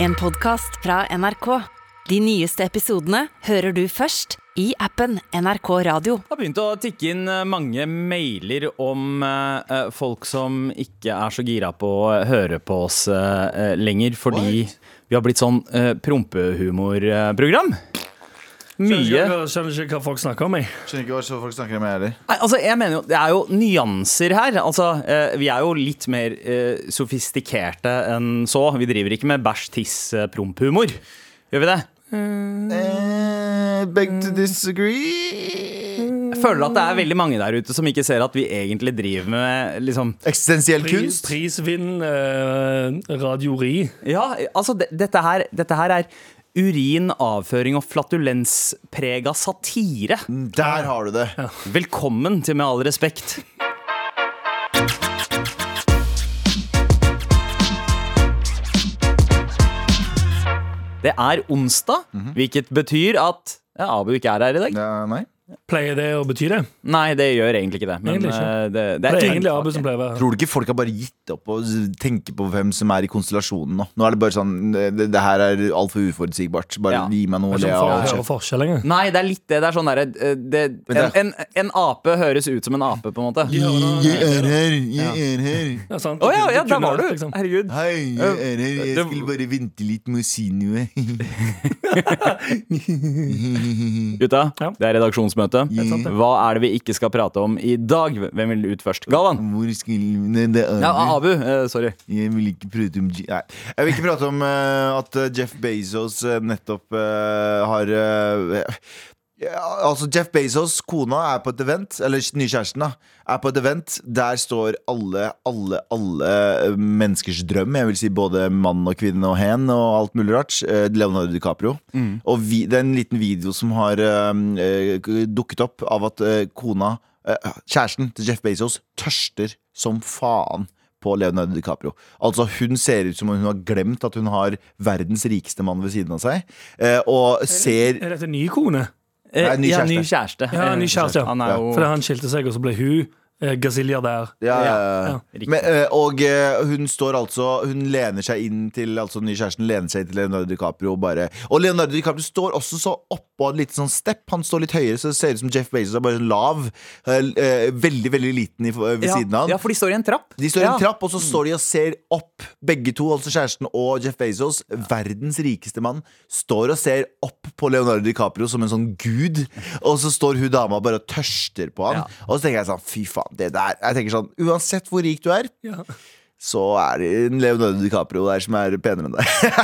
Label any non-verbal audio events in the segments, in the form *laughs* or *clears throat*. En podcast fra NRK. De nyeste episodene hører du først i appen NRK Radio. Det har begynt å tikke inn eh, mange mailer om eh, folk som ikke er så gira på å høre på oss eh, lenger, fordi vi har blitt sånn eh, prompehumorprogram. Mye Skjønner ikke, skjønner ikke hva folk snakker om. Jeg. Skjønner ikke hva så folk snakker om jeg heller. Nei, altså, jeg mener jo, Det er jo nyanser her. Altså, eh, vi er jo litt mer eh, sofistikerte enn så. Vi driver ikke med bæsj, tiss, eh, promphumor. Gjør vi det? Eh, beg to disagree. Jeg føler at det er veldig mange der ute som ikke ser at vi egentlig driver med liksom, Eksistensiell Pris, kunst. prisvinn, eh, radiori. Ja, altså de, dette, her, dette her er urin, avføring og flatulensprega satire. Der har du det. Velkommen til Med all respekt. Det er onsdag, Mhm. hvilket betyr at ja, Abu ikke er her i dag. Ja, nei. Pleier det å bety det? Nei, det gjør egentlig ikke det. Men Egentlig ikke. eh, Det, Det er ikke- egentlig Abu som pleier å være her. Tror du ikke folk har bare gitt opp og s- tenker på hvem som er i konstellasjonen nå? Nå er det bare sånn eh, Det, det her er altfor uforutsigbart. Bare Ja. gi meg noe å Som le får av. høre forskjell engang. Nei, det er litt det. Det er sånn derre eh, det- Men en, det- en, en ape høres ut som en ape, på en måte. Å Jeg er her, jeg er her. Ja, sant. ja, ja, der kunne var du! vært, liksom. Herregud. Hei, jeg er her. Jeg det- skulle bare vente litt med å si noe. *laughs* Gutta, Ja. det er redaksjonsmøte. sant, Hva er det vi ikke skal prate om i dag? Hvem vil ut først? Galvan? Hvor skulle Nei, det er Ja, Abu. eh, sorry. Jeg vil ikke prate om G Nei. Jeg vil ikke prate om eh, at eh, Jeff Bezos eh, nettopp eh, har eh, ja, Altså, Jeff Bezos' kona er på et event, eller nykjæresten, da, er på et event. Der står alle, alle, alle eh, menneskers drøm. Jeg vil si både mann og kvinne og hen og alt mulig rart. eh, Leonardo DiCaprio. Og vi, det er en liten video som har eh, eh, dukket opp av at eh, kona eh, Kjæresten til Jeff Bezos tørster som faen på Leonardo DiCaprio. Altså Hun ser ut som om hun har glemt at hun har verdens rikeste mann ved siden av seg. eh, Og ser Er dette ny kone? Eh, Nei, ny ja, kjæreste. ny kjæreste. Eh, Ja, ny kjæreste. Han er Ja. jo Fordi han skilte seg, og så ble hun eh, gazilja der. ja, ja, ja. ja. Men, eh, og eh, hun står altså Hun lener seg inn til Altså den nye kjæresten lener seg inn til Leonardo DiCaprio og bare Og Leonardo DiCaprio står også så oppå et lite sånn step. Han står litt høyere, så det ser ut som Jeff Bezos er bare sånn lav. eh, eh, Veldig, veldig liten i, eh, ved siden av han. Ja, for de står i en trapp. De står i Ja. Mm. en trapp, og så står de og ser opp. Begge to, altså kjæresten og Jeff Bezos, verdens rikeste mann, står og ser opp på Leonardo DiCaprio som en sånn gud. Og så står hun dama bare og tørster på han. Ja. Og så tenker jeg sånn, fy faen, det der Jeg tenker sånn, Uansett hvor rik du er, Ja. så er det en Leonardo DiCaprio der som er penere enn deg. *laughs*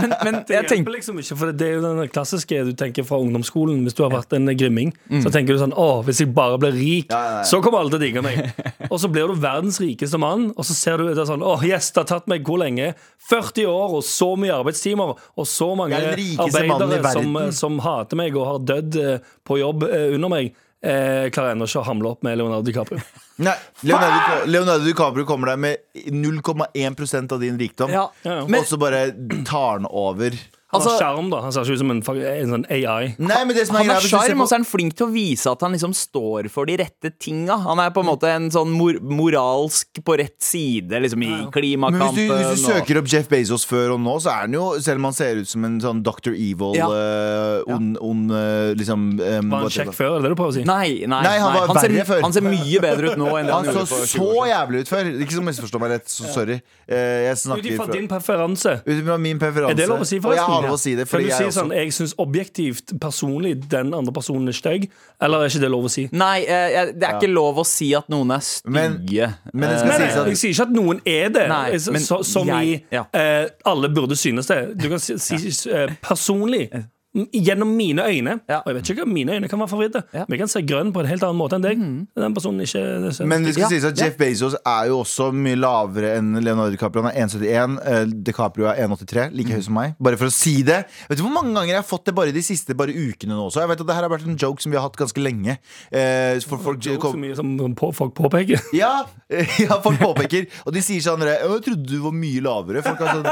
Men, men Det jeg tenker hjelper liksom ikke, for det er jo den klassiske du tenker fra ungdomsskolen. Hvis du har vært en grimming, så tenker du sånn Å, hvis jeg bare blir rik, Mm. ja, ja. så kommer alle til å digge *laughs* meg. og så blir du verdens rikeste mann, og så ser du det er sånn Å, yes, det har tatt meg hvor lenge? 40 år og så mye arbeidstimer, og så mange Jeg er den rikeste mannen i arbeidere som, eh, verden. som hater meg og har dødd eh, på jobb eh, under meg. Eh, klarer ennå ikke å hamle opp med Leonardo DiCaprio. Nei, *laughs* Leonardo, Leonardo DiCaprio kommer der med 0,1 av din rikdom, ja. Ja, ja. Men og så bare tar han over. Han Altså- har skjerm, da. Han ser ikke ut som en, fa- en sånn AI. Nei, men det som er han greia, har hvis du ser sjarm, på- og så er han flink til å vise at han liksom står for de rette tinga. Han er på en måte en sånn mor moralsk på rett side, liksom i Men hvis klimakampen. du, hvis du og- søker opp Jeff Bezos før og nå, så er han jo, selv om han ser ut som en sånn Dr. Evil Ja. eh, ond- ond, eh, liksom ehm, Var hva han kjekk heter det? før? Er det det du prøver å si? Nei, nei, Nei, han var ser, verre før. han ser mye bedre ut nå enn det han, Han så gjorde for 20 så år siden. jævlig ut før. Ikke så misforstå meg rett, så sorry. Eh, jeg Ut snakker ifra fra- din preferanse. Ut ifra min preferanse. Er det lov å si, og forresten? jeg har lov å si det, Kan fordi du jeg si er også sånn, jeg syns objektivt, personlig, den andre personen er stygg, eller er ikke det lov å si? Nei, eh, jeg- det er ikke lov å si at noen er Men- stygge. men det skal sånn- sies Nei, nei, at- jeg sier ikke at noen er det, Nei, Jeg s- men så, som jeg- i ja. eh, alle burde synes det. Du kan si, si eh, personlig. m- Gjennom mine øyne. Ja. Og jeg vet ikke hva mine øyne kan være favoritter. Ja. Men jeg kan se grønn på en helt annen måte enn deg. Den personen ikke ser- Mhm. Men det skal Ja, sies at ja. Jeff Bezos er jo også mye lavere enn Leonardo DiCaprio. Han er 1,71. eh, DiCaprio er 1,83. Like høy som meg. Bare for å si det. Vet du hvor mange ganger jeg har fått det bare de siste bare ukene nå også? Jeg vet at det her har vært en joke som vi har hatt ganske lenge. Eh, for folk, Det er jo kom- så mye som på, folk påpeker. Ja, ja, folk påpeker. Og de sier sånn «Å, Jeg trodde du var mye lavere. Folk har sånn,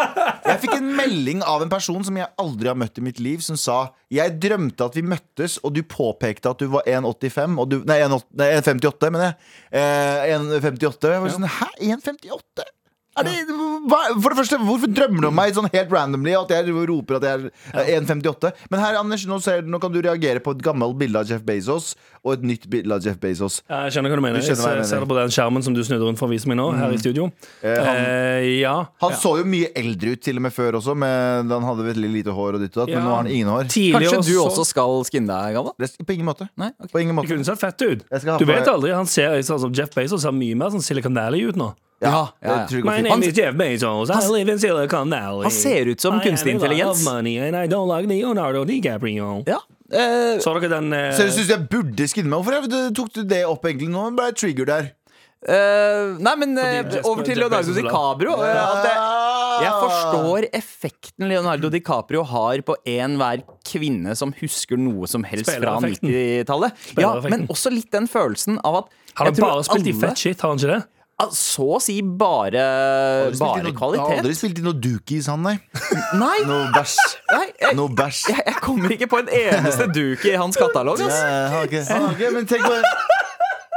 jeg fikk en melding av en person som jeg aldri har møtt i mitt liv, som sa Jeg drømte at vi møttes, og du påpekte at du var 1,85 og du- Nei, 1,8 nei, 1,58, mener jeg. Eh, 1,58. Jeg var sånn Hæ? 1,58? Er det, hva, for det første, Hvorfor drømmer du om meg sånn helt randomly? At jeg driver og roper at jeg er eh, 1,58? Men her, Anders, nå, ser, du- nå kan du reagere på et gammelt bilde av Jeff Bezos og et nytt bilde av Jeff Bezos. Ja, Jeg skjønner hva du mener. Du Jeg skjønner hva jeg ser, ser mener. Mhm. det på den skjermen som du snudde rundt for å vise meg nå, her i studio. han- Eh, ja. Han så jo mye eldre ut til og med før også, men han hadde veldig lite hår. og ditt og datt, Ja. Men nå har han ingen hår. Tidlig Kanskje du så- også skal skinne deg, Galvan? Det, på ingen måte. Nei, ok. På ingen Det måte. kunne sett fett ut. Jeg skal ha Du på vet meg- aldri. Han ser, sånn som Jeff Bezos ser mye mer sånn Silicon Valley ut nå. Ja, det ja, ja. tror jeg går My fint. name is Jeff Bezos. I Han- live in Silicon Valley. Han ser ut som I have a kunstig lot of intelligens. money and I don't like Leonardo DiCaprio. Ja. Eh, Så dere den eh, Seriøst, synes jeg burde skinne meg. Hvorfor er det- tok du det opp egentlig nå? Ble jeg trigger der? eh, nei, men eh, Jeff- over til Jeff Leonardo Bezos er DiCaprio. eh, At det, jeg forstår effekten Leonardo DiCaprio har på enhver kvinne som husker noe som helst fra Spillereffekten. 90-tallet. Ja, Spillereffekten. men også litt den følelsen av at Har han jeg tror bare spilt i alle- fett shit, har han ikke det? Ah, Så å si bare, Jeg har bare aldri spilt i noe- Jeg har kvalitet. aldri spilt i noe dookies, han, nei. Nei, Noe bæsj. nei jeg, Noe bæsj. jeg, jeg kommer ikke på en eneste duke i hans katalog. Nei, ass. jeg *laughs* har ikke- jeg har ikke, Men tenk på en,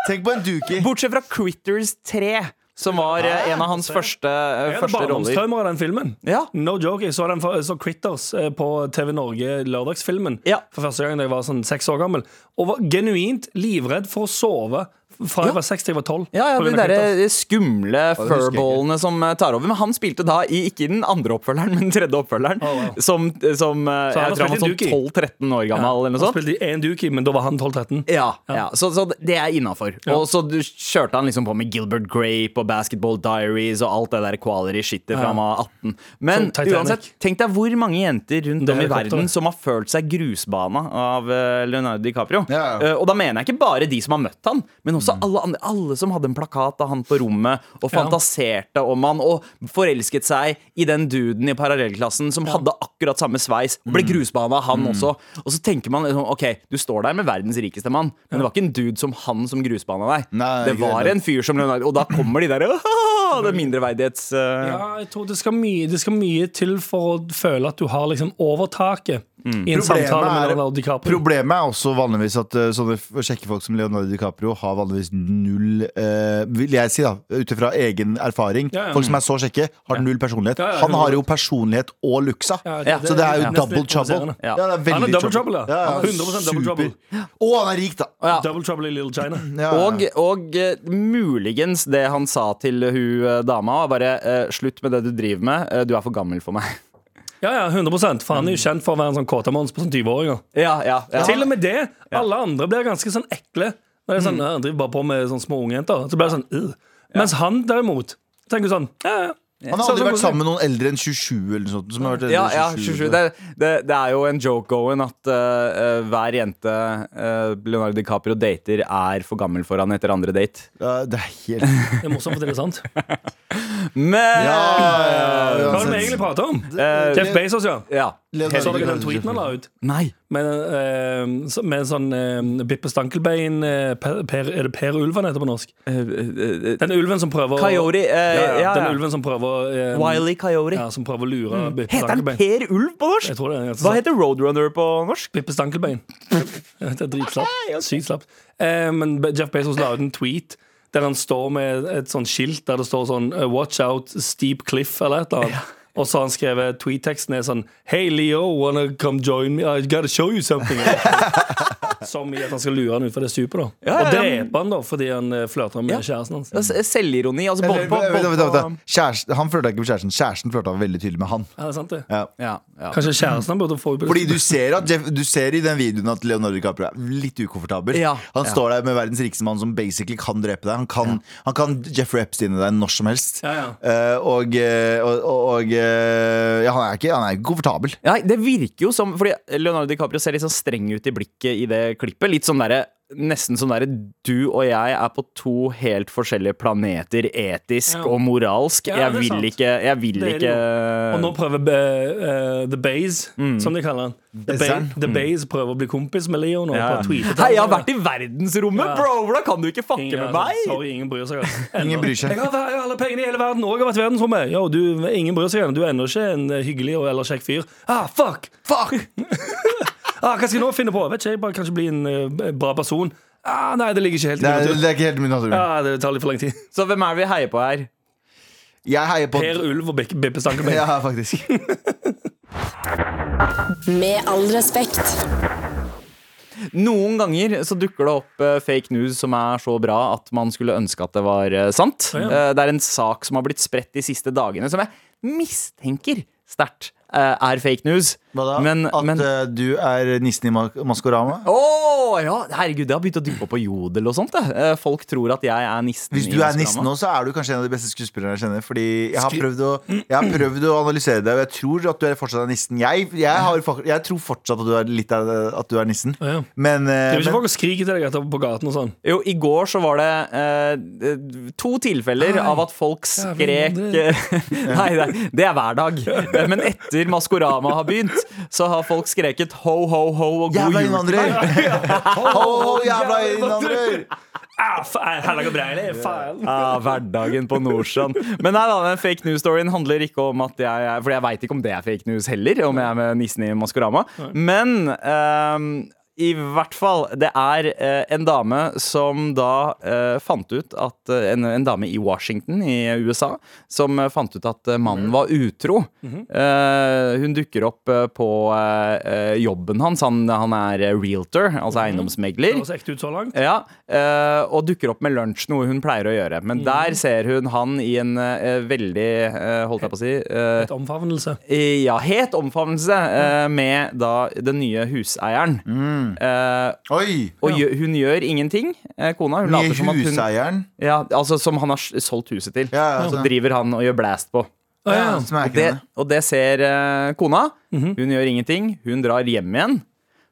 tenk på en dookie. Bortsett fra Critters 3, som var eh, en av hans første, eh, Jeg hadde første roller. barndomstraumer av den filmen. Ja. No joke. Jeg så, den for, jeg så Critters eh, på TV Norge lørdagsfilmen Ja. for første gang da jeg var sånn seks år gammel. Og var genuint livredd for å sove fra Ja. jeg var seks til jeg var tolv. Ja, ja, på De grunn av Critters. der skumle husker jeg furballene som eh, tar over. Men han spilte da i ikke i den andre oppfølgeren, *laughs* men den tredje oppfølgeren. Oh, wow. Som, som eh, Så han har jeg tror han var spilt i sånn Duki. 12-13 år gammel, eller noe Han sånt. spilte i én duki, men da var han 12-13. Ja, ja. Så, så det er innafor. Og så du kjørte han liksom på med Gilbert Grape og Basketball Diaries og alt det der quality shitet fra han var 18. Men Som Sånn Titanic. uansett, tenk deg hvor mange jenter rundt Det om i er helt verden topp, som har følt seg grusbana av eh, Leonardo DiCaprio. Ja. Eh, Og da mener jeg ikke bare de som har møtt han, men Mm. også alle andre. Alle som hadde en plakat av han på rommet og Ja. fantaserte om han og forelsket seg i den duden i parallellklassen som hadde akkurat samme sveis. Ble Mm. grusbana, han også. Og så tenker man liksom, ok, du står der med verdens rikeste mann, men det var ikke en dude som han som grusbana deg. Nei, det ikke var det. en fyr som Leonardo Og da kommer de der «Åh, Det er mindreverdighets... eh, Ja, jeg tror det skal, mye, det skal mye til for å føle at du har liksom overtaket i en samtale med Leonardo DiCaprio. problemet er også vanligvis at eh, sånne f- kjekke folk som Leonardo DiCaprio har vanligvis null eh, Vil jeg si, da, ut ifra egen erfaring. Ja, ja. Folk som er så kjekke, har null personlighet. Ja, ja, han har jo personlighet og looksa, Ja, det- så det er jo det er nesten double litt trouble. provoserende. Ja. det er Han er veldig double trouble, ja. ja. 100% double trouble. Super. Og han er rik, da. ja. Double trouble i Little China. Ja, ja. Og, og eh, muligens det han sa til hun eh, dama, var bare eh, slutt med det du driver med, eh, du er for gammel for meg. Ja, ja, 100 For han er jo kjent for å være en sånn kåtamons på sånn 20-åringer. Ja, ja, ja. Til og med det. Alle andre blir ganske sånn ekle. Når det er sånn, ja, Han driver bare på med sånne små ungjenter. Så blir det sånn, øh. Mens han derimot tenker sånn ja, ja. Han har Sånn aldri som- vært sammen med noen eldre enn 27 eller noe sånt. Som har vært eldre ja, enn ja, 27. Det, det, det er jo en joke going at eh, eh, hver jente eh, Leonardo DiCaprio dater, er for gammel for han etter andre date. Ja, det er helt Det er morsomt, for det er sant. Hva Men Ja, ja, ja, er det vi egentlig prater om? Eh, Jeff Bezos, ja. ja. Leonardo Så dere den DiCaprio. tweeten han la ut? Nei. Med, eh, så- med en sånn eh, Bippe Stankelbein eh, per, per, Er det Per Ulv han heter på norsk? eh, eh, eh, Den ulven som prøver å- Coyote. eh, Ja, ja, ja, Den ja. ulven som prøver eh, Wiley Coyote. ja, Som prøver å lure Bippe Heter han Stankelbein. Per Ulv på norsk? Jeg tror det er Hva heter Roadrunner på norsk? *laughs* Bippe Stankelbein. Det er dritslapt. Sykt slapt. Eh, men Be- Jeff Bezos la ut en tweet der han står med et sånt skilt der det står sånn eh, Watch out, steep cliff, eller et eller annet. Og så har han skrevet tweetteksten er sånn Hey Leo, wanna come join me? I gotta show *laughs* you something. Som i at han skal lure han ut fra det stupet, da. Ja, Og ja, ja. drepe han, da, fordi han eh, flørter med Ja. kjæresten hans. Det er s- Selvironi. Altså, Eller, både på, vent, både vent, vent, på vent. Kjæresten- Han flørta ikke med kjæresten. Kjæresten flørta veldig tydelig med han. Er det sant, det? Ja. Ja, ja. Kanskje kjæresten han burde få ut på Fordi du ser, at Jeff, du ser i den videoen at Leonardo DiCaprio er litt ukomfortabel. Ja, han ja. står der med verdens rikeste mann som basically kan drepe deg. Han kan, han kan Jeffrey Epstein deg når som helst. Ja, ja. Eh, og eh, og, og, og, eh, ja, han er ikke, han er ikke komfortabel. Nei, det virker jo som Fordi Leonardo DiCaprio ser litt sånn streng ut i blikket i det klippet. Litt sånn derre Nesten som derre du og jeg er på to helt forskjellige planeter etisk Ja. og moralsk. Ja, jeg, det er sant. vil ikke, jeg vil Det er det ikke Og nå prøver eh, eh, The Baze, som de kaller han. The, ba Bezeren. The Baze prøver å bli kompis med Leo nå. ja. på tweetet. Hei, jeg har vært i verdensrommet, Ja. bro! Hvordan kan du ikke fucke Ingen- med meg? Sorry, ingen bryr seg. altså. Ennå. Ingen bryr seg. Jeg har, vært- jeg har alle pengene i hele verden, og jeg har vært i verdensrommet. Yo, du, ingen bryr seg. Du er ennå ikke en eh, hyggelig og eller kjekk fyr. Ah, fuck! Fuck! *laughs* ah, hva skal jeg nå finne på? Vet ikke, jeg bare kanskje bli en eh, bra person. Ah, nei, det ligger ikke helt i Ah, Det er, min natur. det er ikke helt min natur. Ja, det tar litt for lang tid. Så hvem er det vi heier på her? Jeg heier på Per Ulv og Beppe- Beppe Stankelbein. *laughs* Ja, faktisk. Med all respekt. Noen ganger så dukker det opp eh, fake news som er så bra at man skulle ønske at det var eh, sant. Ja, ja. Eh, det er en sak som har blitt spredt de siste dagene, som jeg mistenker sterkt eh, er fake news. Hva da? Men, At men eh, du er nissen i ma Maskorama? Å ja! Herregud, det har begynt å dukke opp på Jodel og sånt. det. Eh, Folk tror at jeg er nissen. Hvis i du er Maskorama. nissen nå, så er du kanskje en av de beste skuespillerne jeg kjenner. Fordi jeg har prøvd å, jeg har prøvd å analysere deg, og jeg tror at du er fortsatt er nissen. Jeg, jeg, har, fak- jeg tror fortsatt at du er litt av, at du er nissen. Ja. Men, eh, Driver ikke men folk og skriker til deg etterpå på gaten og sånn? Jo, i går så var det eh, eh, to tilfeller av at folk skrek eh, jævlig Nei, det, er- det er hver dag. Eh, Men etter Maskorama har begynt, så har folk skreket ho, ho, ho og god jævla jul. innvandrer! Ho, ho, jævla Jævla innvandrer! Ah, faen, Helga Breile, faen! Ja, Ah, hverdagen på Nordsjøen. Men nei da, den fake news-storyen handler ikke om at jeg er For jeg veit ikke om det er fake news heller, om jeg er med nissen i Maskorama. Men ehm, i hvert fall, det er eh, en dame som da eh, fant ut at eh, en, en dame i Washington i USA som eh, fant ut at eh, mannen var utro. Eh, hun dukker opp eh, på eh, eh, jobben hans. Han, han er eh, realtor, altså eiendomsmegler. Det høres ekte ut så langt. Ja, eh, og dukker opp med lunsj, noe hun pleier å gjøre. Mm. Men der ser hun han i en eh, veldig, eh, holdt jeg på å si eh, Et omfavnelse. i- Ja, het omfavnelse Mm. eh, med da den nye huseieren. Eh, Oi! og gjø- hun gjør ingenting, eh, kona. Hun Nye later som at hun huseieren. ja, Altså som han har s- solgt huset til. Ja, ja, Så sånn. driver han og gjør blast på. Ah, ja. Ja, som er ikke Det, det. Mhm. og det ser eh, kona. Hun gjør ingenting. Hun drar hjem igjen.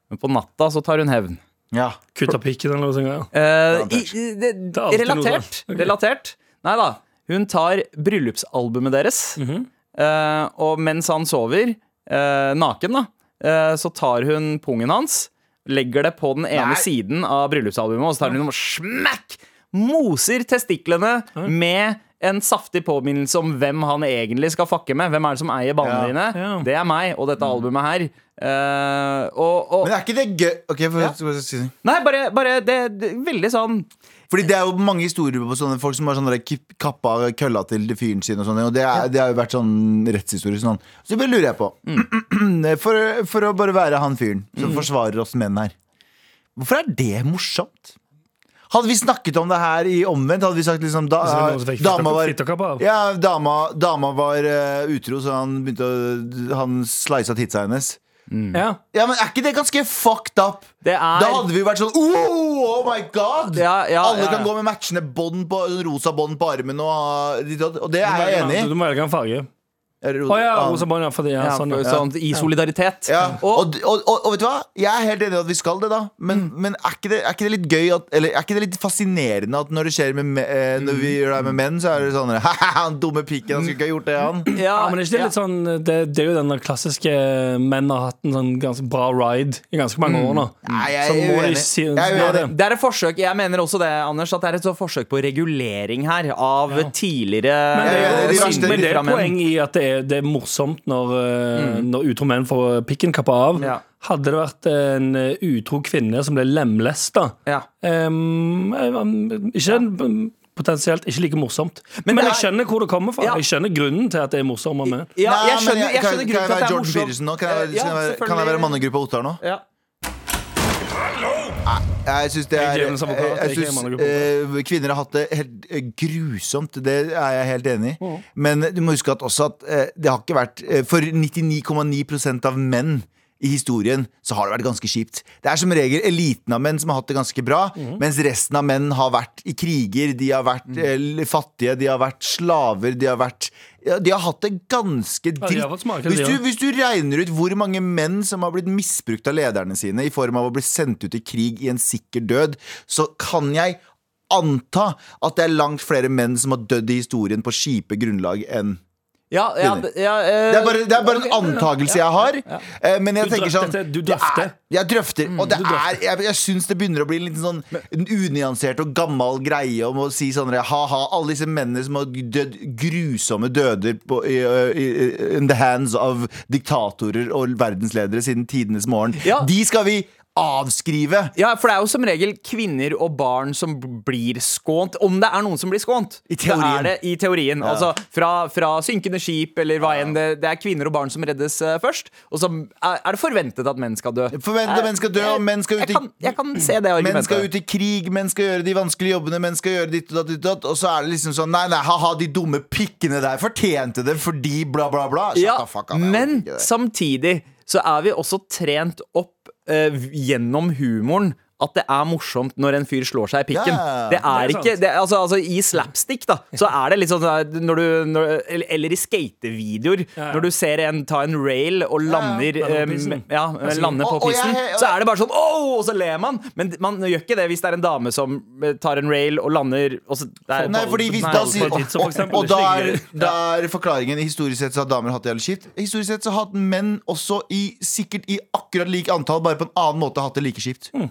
Men på natta så tar hun hevn. Ja. Kutta pikken eller noe sånt. ja. Eh, i, Relatert. i- det, er alltid noe relatert. der. Ok. relatert. Nei da. Hun tar bryllupsalbumet deres, eh, og mens han sover, eh, naken, da, eh, så tar hun pungen hans, legger det på den ene Nei. siden av bryllupsalbumet, og så tar hun og smekk! Moser testiklene med en saftig påminnelse om hvem han egentlig skal fucke med. Hvem er det som eier ballene Ja. dine? Ja. Det er meg og dette albumet her. Eh, og, og, Men er ikke det gøy? Ok, for, for, si det. nei, bare, bare det, det Veldig sånn Fordi det er jo mange historier på sånne folk som har sånne der kipp- kappa kølla til fyren sin. Og sånne, og det, er, det har jo vært sånn rettshistorie. Sånn. Så det lurer jeg på. *clears throat* For, for å bare være han fyren som Mm. forsvarer oss menn her. Hvorfor er det morsomt? Hadde vi snakket om det her i omvendt, hadde vi sagt liksom da, Altså, det er noen som fikk dama, fitta- var, fittakappa av. ja, dama, dama var eh, utro, så han begynte å Han slisa titsa hennes. Mm. Ja. Ja, men Er ikke det ganske fucked up? Det er Da hadde vi vært sånn Oh, oh my god! Ja, ja, Alle ja, ja. kan gå med matchende bånd på rosa bånd på armen og ha ditt og datt. Og det Du er må jeg velge- enig Du i. du må velge en farge. Eller Å ja, annen. rosa bånd, ja. Fordi, ja, Ja, sånn, for, ja. sånn, I solidaritet. Ja. Mm. Og, Mm. Og, og, og, og vet du hva? Jeg er helt enig i at vi skal det, da. Men, men er, ikke det, er ikke det litt gøy at, Eller er ikke det litt fascinerende at når det skjer med, me- eh, Når Mm. vi gjør det her med menn, så er det sånn *laughs* Ha-ha, han dumme pikken, han skulle ikke ha gjort det, han. ja, Ja, men det er ikke det litt sånn det, det er jo den der klassiske menn har hatt en sånn ganske bra ride i ganske mange Mm. år nå. Nei, jeg Så er må de uenig. si- Jeg er Ja, det- uenig. Det er et forsøk, Jeg mener også det, Anders, at det er et sånt forsøk på regulering her av tidligere Men det, Ja, ja, det er Eh, er, de jo- verste men det er fra et menn. poeng i at det er, det er morsomt når, eh, når utro menn får pikken kappa av. Mm. Ja. Hadde det vært en eh, utro kvinne som ble lemlesta Ja. em, eh, em, Ikke en- Potensielt ikke like morsomt. Men, det jeg er- skjønner hvor det kommer fra. Ja. Jeg skjønner grunnen til at det er morsommere med. Ja, Nei, jeg men skjønner, jeg skjønner kan- grunnen Kan jeg til at være det er Jordan Peterson morsomt. nå? Kan jeg, Ja, skal jeg, være- kan jeg være selvfølgelig. mannegruppa Ottar nå? Ja. Jeg syns det Jeg er er djevelens advokat, jeg er jeg ikke synes, mannegruppa. eh, Kvinner har hatt det helt eh, grusomt, det er jeg helt enig Mm. i. Men du må huske at også at eh, det har ikke vært eh, For 99,9 av menn i historien så har det vært ganske kjipt. Det er som regel eliten av menn som har hatt det ganske bra, Mm. mens resten av menn har vært i kriger, de har vært eh, fattige, de har vært slaver, de har vært ja, De har hatt det ganske Ja, de har dritt. fått smake, de Hvis du, har. hvis du regner ut hvor mange menn som har blitt misbrukt av lederne sine i form av å bli sendt ut i krig i en sikker død, så kan jeg anta at det er langt flere menn som har dødd i historien på kjipe grunnlag enn Ja, ja, d- ja, eh, det er bare, det er bare en antagelse jeg har. eh, Men jeg Du tenker drøfter sånn det, du det drøfter. er- Jeg drøfter. Og det er, jeg, jeg syns det begynner å bli en liten sånn unyansert og gammel greie om å si sånn ha-ha, alle disse mennene som har dødd grusomme døder på, i, i, in the hands of diktatorer og verdensledere siden tidenes morgen. Ja. De skal vi avskrive. Ja, for det er jo som regel kvinner og barn som blir skånt. Om det er noen som blir skånt. I teorien. Det er det i teorien. Altså fra, fra synkende skip eller hva enn. Det, det er kvinner og barn som reddes eh, først. Og så er, er det forventet at menn skal dø. Forventet Jeg- menn skal dø, og menn skal ut Eh, jeg i- kan, jeg kan se det Menn skal argumentet. ut i krig, menn skal gjøre de vanskelige jobbene, menn skal gjøre ditt og datt, ditt og datt. Og så er det liksom sånn Nei, nei, ha-ha, de dumme pikkene der fortjente det fordi bla, bla, bla. Shut Ja, the fuck up. jeg men orker ikke det. samtidig så er vi også trent opp eh, gjennom humoren at det er morsomt når en fyr slår seg i pikken. Ja, det er det er ikke sant. det, er- altså, altså, I slapstick, da, så er det litt sånn at når du, når, eller- Eller i skatevideoer. ja. Når du ser en ta en rail og lander Lander på eh, pissen. ja, lander på Og- og jeg- pissen, og- så er det bare sånn oh! Og så ler man. Men man gjør ikke det hvis det er en dame som eh, tar en rail og lander og så, det er- sånn Nei, fordi hvis Nei, da på sier et Og, tidspunkt, for og, eksempel, og da, er, slinger- da er forklaringen historisk sett så har damer hatt det jævlig kjipt. Historisk sett så har hatt menn også i, sikkert i akkurat like antall, bare på en annen måte hatt det like kjipt. Mm.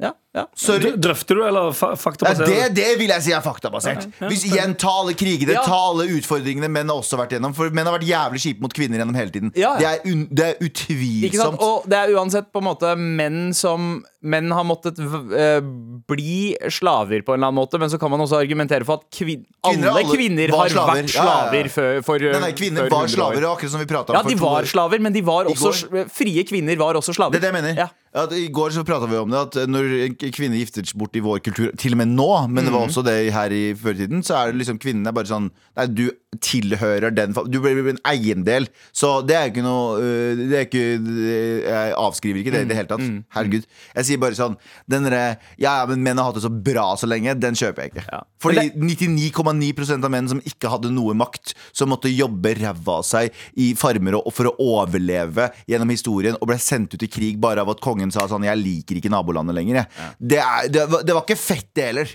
ja, ja. Sorry. Dr- Drøfter du, eller fa Altså, Ja, det, faktabasert? det vil jeg si er faktabasert. Hvis igjen Ta alle krigene, Ja. ta alle utfordringene menn har også vært gjennom. For menn har vært jævlig kjipe mot kvinner gjennom hele tiden. Ja, Det, ja. er un, det er Ikke sant? utvilsomt. Og det er uansett på en måte menn som Menn har måttet v- eh, bli slaver på en eller annen måte, men så kan man også argumentere for at kvin Kvinner alle, alle kvinner var har slaver. vært Ja, ja, slaver ja. før for, Nei, nei, kvinner var slaver, akkurat som vi prata om. Ja, for de to år. var slaver, men de var også går. sl- Frie kvinner var også slaver. Det er det jeg mener. Ja. At I går så prata vi om det, at når en k- kvinne gifter seg bort i vår kultur, til og med nå, men Mhm. det var også det her i førtiden, så er det liksom kvinnen er bare sånn Nei, du tilhører den fa- Du blir blir en eiendel. Så det er jo ikke noe øh, Det er ikke Jeg avskriver ikke det i det hele Mm, tatt. Herregud. Jeg sier bare sånn Den derre Ja, ja, men menn har hatt det så bra så lenge, den kjøper jeg ikke. Ja. Fordi 99,9 av menn som ikke hadde noe makt, som måtte jobbe ræva av seg i farmer og, for å overleve gjennom historien, og ble sendt ut i krig bare av at kongen sa sånn 'Jeg liker ikke nabolandet lenger', jeg. Det, er, det, var- det var ikke fett, det heller.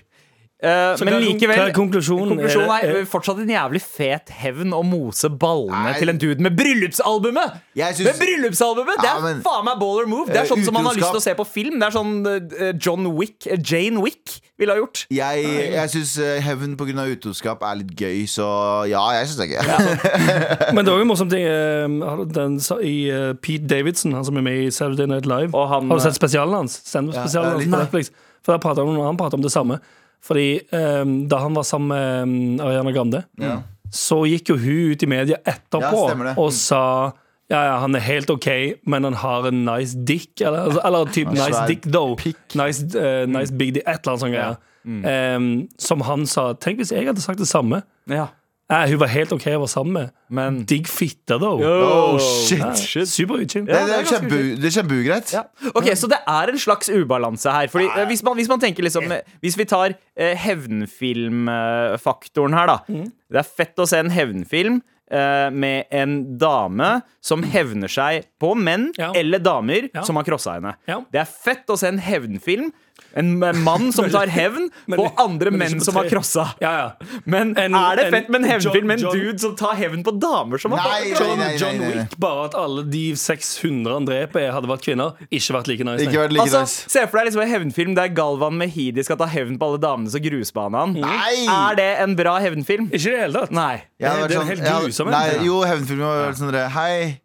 Eh, Så men hva er kon- likevel hva er konklusjonen? konklusjonen er, Er eh, det- fortsatt en jævlig fet hevn å mose ballene Nei. til en dude med bryllupsalbumet! Jeg syns- med bryllupsalbumet! Det er Ja, men- faen meg baller move! Det Eh, er sånn som man har lyst utroskap- til å se på film. Det er sånn eh, John Wick, eh, Jane Wick ville ha gjort. Jeg, jeg syns hevn pga. utroskap er litt gøy, så ja, jeg syns *laughs* det er gøy. Men det er også en morsom ting eh, har du den, sa- i eh, Pete Davidson, han som er med i Saturday Night Live. Og han- eh, har du sett spesialen hans? Standup-spesialen Ja, ja, hans litt. på Netflix? For der prater han, han prater om det samme. Fordi eh, da han var sammen med eh, Ariana Grande, så gikk jo hun ut i media etterpå Ja, stemmer det. og sa ja, ja, han er helt OK, men han har en nice dick. Eller, altså, eller typ Ja, nice svær dick, though. pikk. Mm. Nice, eh, nice big dick, et eller annet sånt. greier. Eh, som han sa. Tenk hvis jeg hadde sagt det samme. Ja. Nei, hun var helt OK å være sammen med. Men- Digg fitte, da. Oh, shit. Ja, Super utskilt. det Det, det er er ganske kjempe, det er kjempegreit. Ok, Så det er en slags ubalanse her. Fordi eh, hvis, man, hvis man tenker liksom eh, Hvis vi tar eh, hevnfilmfaktoren her, da. Mm. Det er fett å se en hevnfilm eh, med en dame som hevner seg på menn Ja. eller damer Ja. som har krossa henne. Ja. Det er fett å se en hevnfilm. En eh, mann som tar hevn *laughs* men- på andre men ikke menn på som har tre. krossa. Ja, ja. Men En- er det en fett med en John- hevnfilm med en John- dude som tar hevn på damer som har Nei, John, nei, nei, John nei, nei. Wick, bare at alle de 600 han dreper, hadde vært kvinner. Ikke vært like nice. nei. Ikke vært like altså, nice. Se for deg liksom en hevnfilm der Galvan Mehidi skal ta hevn på alle damene som grusbaner han. Nei! Er det en bra hevnfilm? Ikke i det hele tatt. Nei. Jeg hadde Det er vært en sånn- helt jeg hadde- grusom en. Nei, jo, hevnfilmen var vært sånn der, Hei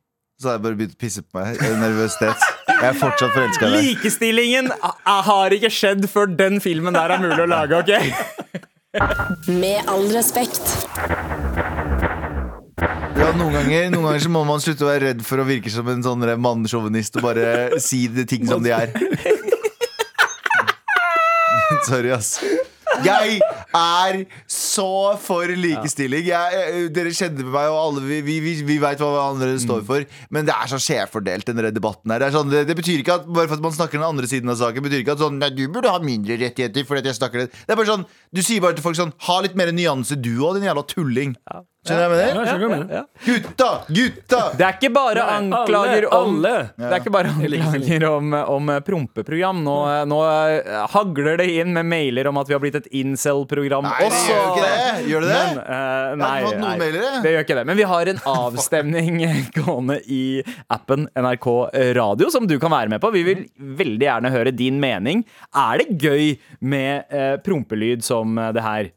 Så hadde jeg bare begynt å pisse på meg av Nervøsitet Jeg er fortsatt forelska i deg Likestillingen a- a- har ikke skjedd før den filmen der er mulig å lage, OK? Med all respekt. ja, noen, ganger, noen ganger så må man slutte å være redd for å virke som en sånn der mannsjåvinist Og bare si de ting som de er *laughs* Sorry ass jeg er så for likestilling jeg, jeg- Dere kjenner meg og alle Vi, vi, vi, vi vet hva hverandre Mm. står for Men det er så skjevfordelt denne debatten her det, er sånn, det, det betyr ikke at bare for at man snakker den andre siden av saken Betyr ikke at sånn, nei du burde ha mindre rettigheter Fordi at jeg snakker det Det er bare sånn, du sier bare til folk sånn Ha litt mer nyanse du og din jævla tulling Skjønner du hva jeg med Ja, det? skjønner du hva jeg mener? Gutta, gutta Det er ikke bare Nei, anklager om alle, Det er ikke bare anklager om, om prompeprogram. Nå, nå eh, hagler det inn med mailer om at vi har blitt et incel-program Nei, det også. gjør jo ikke det Gjør det det? Men, eh, nei, fått noen nei, mailere. det gjør ikke det. Men vi har en avstemning *laughs* gående i appen NRK Radio som du kan være med på. Vi vil veldig gjerne høre din mening. Er det gøy med eh, prompelyd som eh, det her?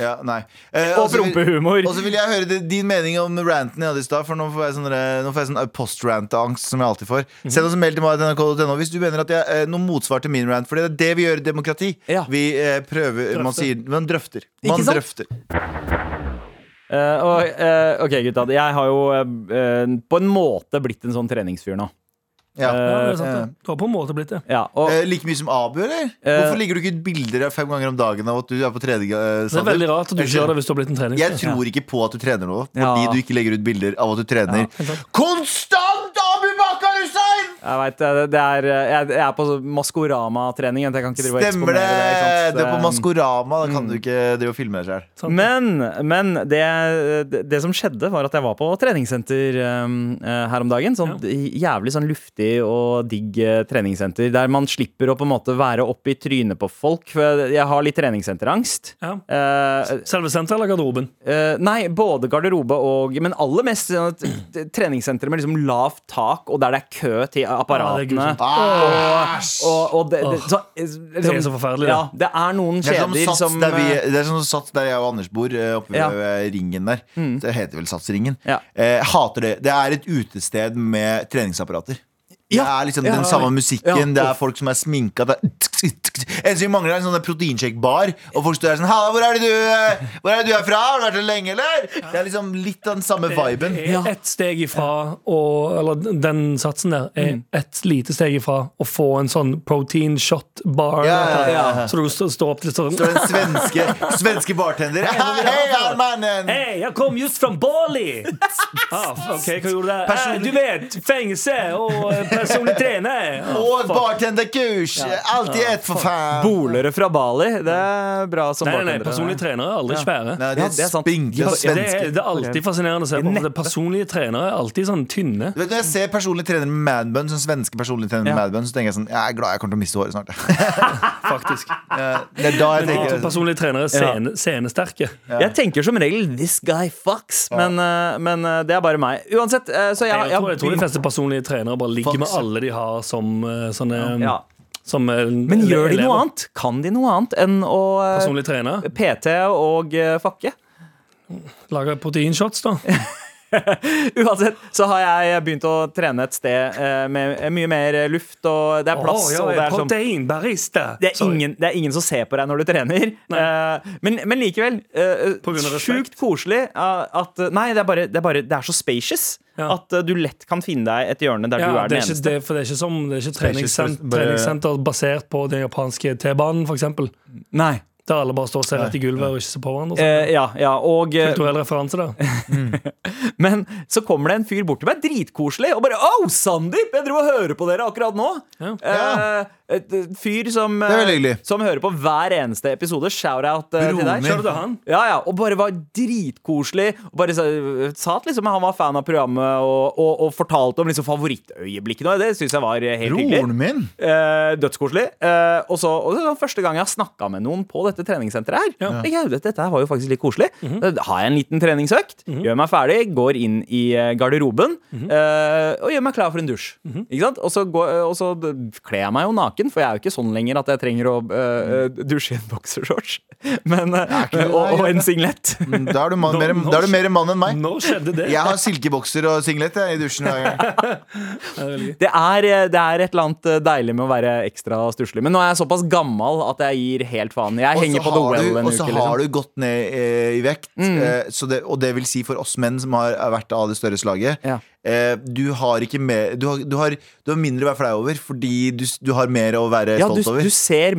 Ja, nei. Eh, Og så vil- prompehumor. Og så vil jeg høre di- din mening om ranten jeg hadde i stad, for nå får jeg sånn, der- nå får jeg sånn post-rant-angst som jeg alltid får. Send oss en mail til meg nrk.no hvis du mener at jeg eh, noe motsvar til min rant, for det er det vi gjør i demokrati. Ja. Vi eh, prøver Man sier Man drøfter. Man Ikke sant? drøfter. Eh, og, eh, ok, gutta. Jeg har jo eh, på en måte blitt en sånn treningsfyr nå. Ja. Ja, det Eh, er sant, det. Du har på en måte blitt det. ja, og, Eh, like mye som Abu, eller? Hvorfor legger du ikke ut bilder av fem ganger om dagen av at du er på trening? eh, Det er Sander? veldig rart at du ikke gjør det hvis du har blitt en Jeg treningsfyr. tror ikke på at du trener nå, fordi Ja. du ikke legger ut bilder av at du trener. Konstant Abu Bakar Hussein! jeg vet, eh, det det er, jeg, jeg er på Maskorama-trening. Jeg kan ikke drive og Stemmer det! eksponere det. ikke sant? Det er på Eh, Maskorama. Da kan du ikke drive og filme deg sjøl. Men, men det, det som skjedde, var at jeg var på treningssenter um, eh, her om dagen. Sånn jævlig sånn luftig og digg eh, treningssenter, der man slipper å på en måte være oppe i trynet på folk. For jeg har litt treningssenterangst. Ja. Eh, Selve senteret eller garderoben? eh, nei, både garderobe og Men aller mest sånn at treningssentre med liksom lavt tak, og der det er kø til det er apparatene. grusomt. Æsj! og, og det, det, så, liksom- så forferdelig, det. Ja, det er noen Det er som kjeder Sats, som der vi, eh, det er som Sats der jeg og Anders bor, eh, oppe ved Ja. Mm. eh, ringen der. Det heter vel Satsringen. Ja. Eh, hater det. Det er et utested med treningsapparater. Det Ja. er liksom Ja, den ja, samme ja. musikken, Ja. det er folk som er sminka det er En som mangler en sånn proteinshake-bar, og folk står der sånn Halla, hvor er det du eh, Hvor er det du er fra? Har du vært her lenge, eller? Det er liksom litt av den samme viben. Ja. Ett steg ifra å Eller den satsen der er Mm. ett lite steg ifra å få en sånn protein shot bar. Ja, ja, ja, ja. Så du st- står opp til sånn Så er det en svenske, svenske bartender. Hei, her, mannen! Hei, jeg kom just fra Bali! Ah, ok, hva gjorde du der? Person- Eh, du vet, fengelse og eh, personlig trener. Ah, Og fuck. bartenderkurs! Alltid ett, for faen! Bolere fra Bali. Det er bra som Nei, nei, nei, bartendere. personlige trenere er aldri svære. Nei, Ja, det det er er sant. spinkle Ja, Det er, svenske. det er alltid fascinerende å se på. for det Personlige trenere er alltid sånn tynne. Du vet, Når jeg ser personlig trener med madbun, sånn svenske personlig trener Ja. med madbun, så tenker jeg sånn Jeg er glad jeg kommer til å miste *laughs* håret snart. Faktisk. Det er da jeg Ja, tenker Altså, personlige trenere er scene, scenesterke. Jeg tenker som regel 'this guy fucks', men, eh, men eh, det er bare meg. Uansett, eh, så jeg, Jeg tror, jeg tror de jeg, fleste personlige trenere bare ligger med Faktisk. alle de har som eh, sånne ja. som, eh, Men gjør de elever. noe annet? Kan de noe annet enn å eh, Personlig trener. PT og eh, fucke? *laughs* Lager proteinshots, da. Uansett så har jeg begynt å trene et sted eh, med mye mer eh, luft, og det er plass. Å, ja, og det er sånn Proteinbarista. det er, Sorry. ingen, det er ingen som ser på deg når du trener. Eh, men, men likevel. På grunn av Uh, respekt. sjukt koselig eh, at eh, Nei, det er bare, det er, bare, det er så spacious Ja. at eh, du lett kan finne deg et hjørne der Ja, du er det, den er ikke, eneste. det, for det er ikke som Det er ikke treningssenter, Spacious, bare- treningssenter basert på den japanske T-banen, f.eks. Nei. Der alle bare står og ser rett i gulvet og ikke ser på hverandre. altså. Eh, ja, ja, og eh, Kulturell referanse der. Men så kommer det en fyr bort til meg, dritkoselig, og bare 'Å, Sandeep! Jeg dro og hører på dere akkurat nå!' Ja. Eh, et eh, fyr som, er veldig eh, hyggelig. som hører på hver eneste episode. Shout-out eh, til Broren deg. min. Shout-out til han. Ja, ja, Og bare var dritkoselig. Og bare sa, sa at liksom han var fan av programmet, og, og, og fortalte om liksom favorittøyeblikkene. Og det syns jeg var eh, helt Broren hyggelig. min! Eh, dødskoselig. Eh, og så og det var første gang jeg har snakka med noen på dette treningssenteret her. Tenkte Jeg, dette her var jo faktisk litt koselig. Mhm. Da har jeg en liten treningsøkt, gjør meg ferdig, går inn i eh, garderoben Mhm. eh, og gjør meg klar for en dusj. Ikke sant? Og så, går, og så kler jeg meg jo naken, for jeg er jo ikke sånn lenger at jeg trenger å eh, dusje i en boksershorts. *laughs* Men, eh, ikke Mhm. det, og, og en nei, det- Mm. singlet. Da er du mann, mer, da er du mer mann enn meg. Nå skjedde det. eh, Jeg har silkebokser og singlet jeg, i dusjen. hver gang. *laughs* Det er, eh, det er et eller annet deilig med å være ekstra stusslig. Men nå er jeg såpass gammel at jeg gir helt faen. *laughs* Jeg Og så henger på The har Well du- en og uke. så liksom. Mm. har du gått ned eh, i vekt, eh, så det, og det vil si for oss menn som har har vært av det større slaget Ja. eh, du, har ikke mer, du, har, du, har, du har mindre å være flau over fordi du, s- du har mer å være Ja, du, stolt over. du ser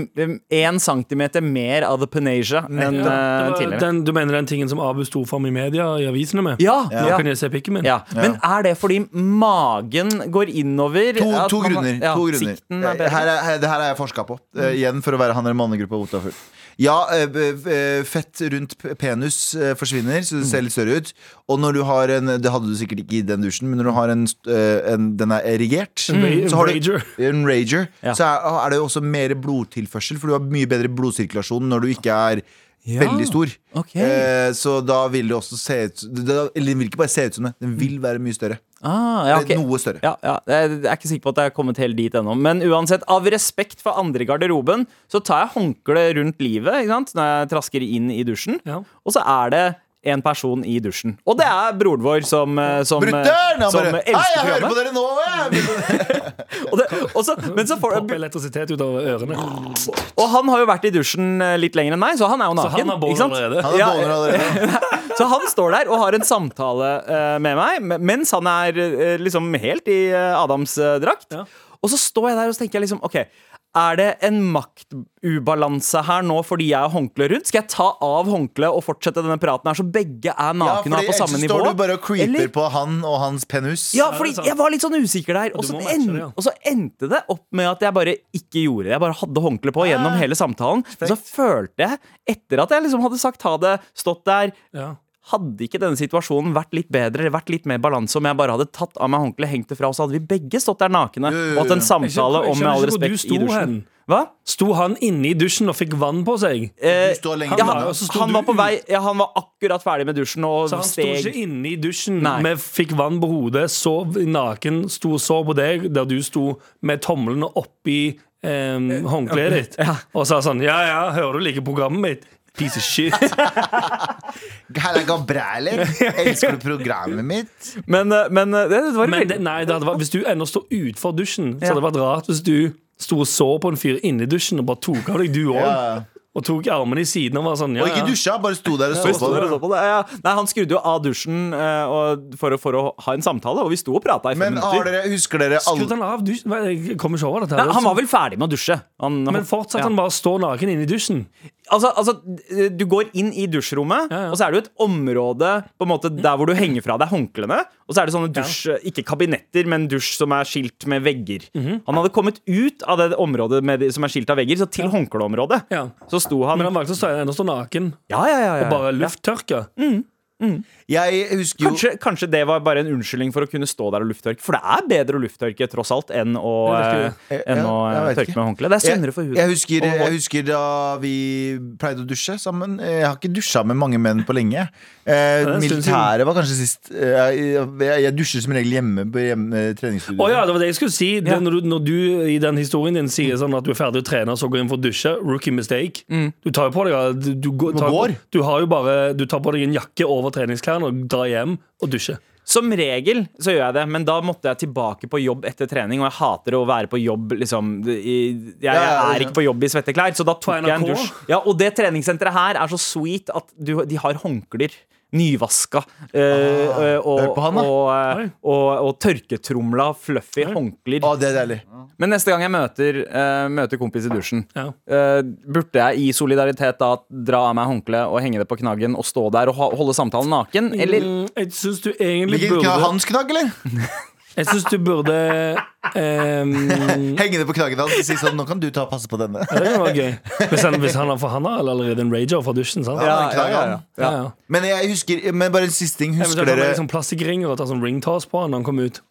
én centimeter mer av the Panasia enn Ja, eh, det var tidligere. den, du mener den tingen som Abu sto fram i media i avisene med? Ja, Nå ja. kan jeg se pikken min. ja. Men er det fordi magen går innover? To, at to man- grunner. ja, to grunner. Sikten er Eh, bedre. Her er, her, det her har jeg forska på. Eh, igjen for å være han eller mannegruppa Otafull. Ja, eh, b- eh, fett rundt p- penis eh, forsvinner, så det ser litt større ut. Og når du har en Det hadde du sikkert ikke i den dusjen, men når du har en, st- eh, en den er erigert ra- så har du, rager. En rager. Ja. Så er, er det jo også mer blodtilførsel, for du har mye bedre blodsirkulasjon når du ikke er veldig stor. ok. Eh, så da vil det også se ut Den vil ikke bare se ut som det, den vil være mye større. Ah, ja, ok. Noe større. Ja, ja, jeg er ikke sikker på at jeg er kommet helt dit ennå. Men uansett, av respekt for andre i garderoben, så tar jeg håndkleet rundt livet ikke sant? når jeg trasker inn i dusjen. Ja. Og så er det en person i dusjen. Og det er broren vår som, eh, som, eh, Brutter'n! Han som bare Hei, elsker jeg hører på programmet. dere nå! eh, Jeg. Og, det, og, så, men så får, Popper elektrisitet ut av ørene. og han har jo vært i dusjen eh, litt lenger enn meg, så han er jo Så naken. han har bånd ikke sant? allerede. Han er Ja, boner allerede. *laughs* Så han står der og har en samtale eh, med meg me- mens han er eh, liksom helt i eh, Adams eh, drakt. Ja. Og så står jeg der og så tenker jeg liksom OK. Er det en maktubalanse her nå fordi jeg har håndkle rundt? Skal jeg ta av håndkleet og fortsette denne praten her så begge er Ja, nakne og er fordi på samme ellers nivå? står du bare og creeper Eller- på han og hans penis. ja, det fordi sant? jeg var litt sånn usikker der. Og du så, må matche en, det, ja. og så endte det opp med at jeg bare ikke gjorde det. Jeg bare hadde håndkle på gjennom hele samtalen. Men så følte jeg, etter at jeg liksom hadde sagt ha det, stått der Ja. hadde ikke denne situasjonen vært litt bedre eller vært litt mer balanse om jeg bare hadde tatt av meg håndkleet, hengt det fra, og så hadde vi begge stått der nakne og hatt en Jeg skjønner- samtale om jeg med skjønner all ikke hvor du respekt sto i dusjen. hen. Hva? Sto han inne i dusjen og fikk vann på seg? Eh, Du står lenger ja, unna. han, Og så sto han du var på ut. vei ja, Han var akkurat ferdig med dusjen og Så han sto steg ikke inne i dusjen, Nei. vi fikk vann på hodet, sov naken, sto og sov på deg, der du sto med tomlene oppi eh, håndkleet ditt, og sa sånn Ja, ja, hører du liker programmet mitt? Piece *laughs* of shit. Her er Gabriele. Elsker du programmet mitt? Men, eh, men eh, det, det var Men veldig det, nei, det hadde vært, hvis du ennå står utenfor dusjen, så hadde det vært rart hvis du sto og så på en fyr inni dusjen og bare tok av deg, du òg. Ja. Og tok armene i siden og var sånn ja, Og ikke ja. dusja, bare sto der og Vi så sto på. der og så på det. Ja, ja. Nei, han skrudde jo av dusjen eh, og for, å, for å ha en samtale, og vi sto og prata i fem Men har minutter. dere, husker dere alle Skrudde han av dusjen? Hva, Jeg kommer ikke over dette. her. altså. Nei, han var vel ferdig med å dusje. Han, Men fortsatt Ja. han bare står naken inne i dusjen. Altså, altså, du går inn i dusjrommet, Ja, ja. og så er det jo et område på en måte, der hvor du henger fra deg håndklærne. Og så er det sånne dusj, eh, ikke kabinetter, men dusj som er skilt med vegger. Mhm. Han hadde kommet ut av det området med, de- som er skilt av vegger, så til håndkleområdet. Ja. Så sto han Men han valgte å stå ennå stå naken Ja, ja, ja. ja, ja. og bare lufttørke. Jeg husker jo Kanskje, kanskje det var bare en unnskyldning for å kunne stå der og lufttørke. For det er bedre å lufttørke tross alt enn å, Ja, det eh, Ja, enn å eh, jeg vet tørke ikke. med håndkle. Det er sunnere for huden. Jeg husker, jeg husker da vi pleide å dusje sammen. Jeg har ikke dusja med mange menn på lenge. Eh, er en stund militæret var kanskje sist. Eh, jeg, jeg, jeg dusjer som regel hjemme på hjemme, eh, treningsstudio. Å ja, det var det jeg skulle si. Det, Ja. når, du, når du i den historien din sier sånn at du er ferdig å trene, så går inn for å dusje, rookie mistake. Du tar jo på deg ja, du, du, går- tar, går. du har jo bare Du tar på deg en jakke over treningsklærne og drar hjem og dusjer. Som regel så gjør jeg det, men da måtte jeg tilbake på jobb etter trening. Og jeg hater å være på jobb liksom i, jeg, jeg ja, ja. er ikke på jobb i svetteklær, så da tok jeg en NRK? dusj. Ja, Og det treningssenteret her er så sweet at du, de har håndklær. Nyvaska. eh, eh, Ah. hør og, på han, da. og, Oi. eh, og, og tørketromla, fluffy håndklær. Å, det er deilig. Men neste gang jeg møter, eh, møter kompis i dusjen, Ja. eh, burde jeg i solidaritet da dra av meg håndkleet og henge det på knaggen og stå der og ha, holde samtalen naken? Eller Mm, jeg syns du egentlig Hvilken burde knagg? Hans knagg, eller? Jeg syns du burde ehm, Henge det på knaggen hans og si sånn Nå kan du ta og passe på denne. Det kan være gøy. Hvis han, hvis han, har- for han har allerede en rager fra dusjen, sant? Ja, knagg, Ja, ja. Men jeg husker Men bare en siste ting. Husker Eventuelt han dere, liksom- har sånn plastikkringer og tar sånn ringtoss på han når han kommer ut.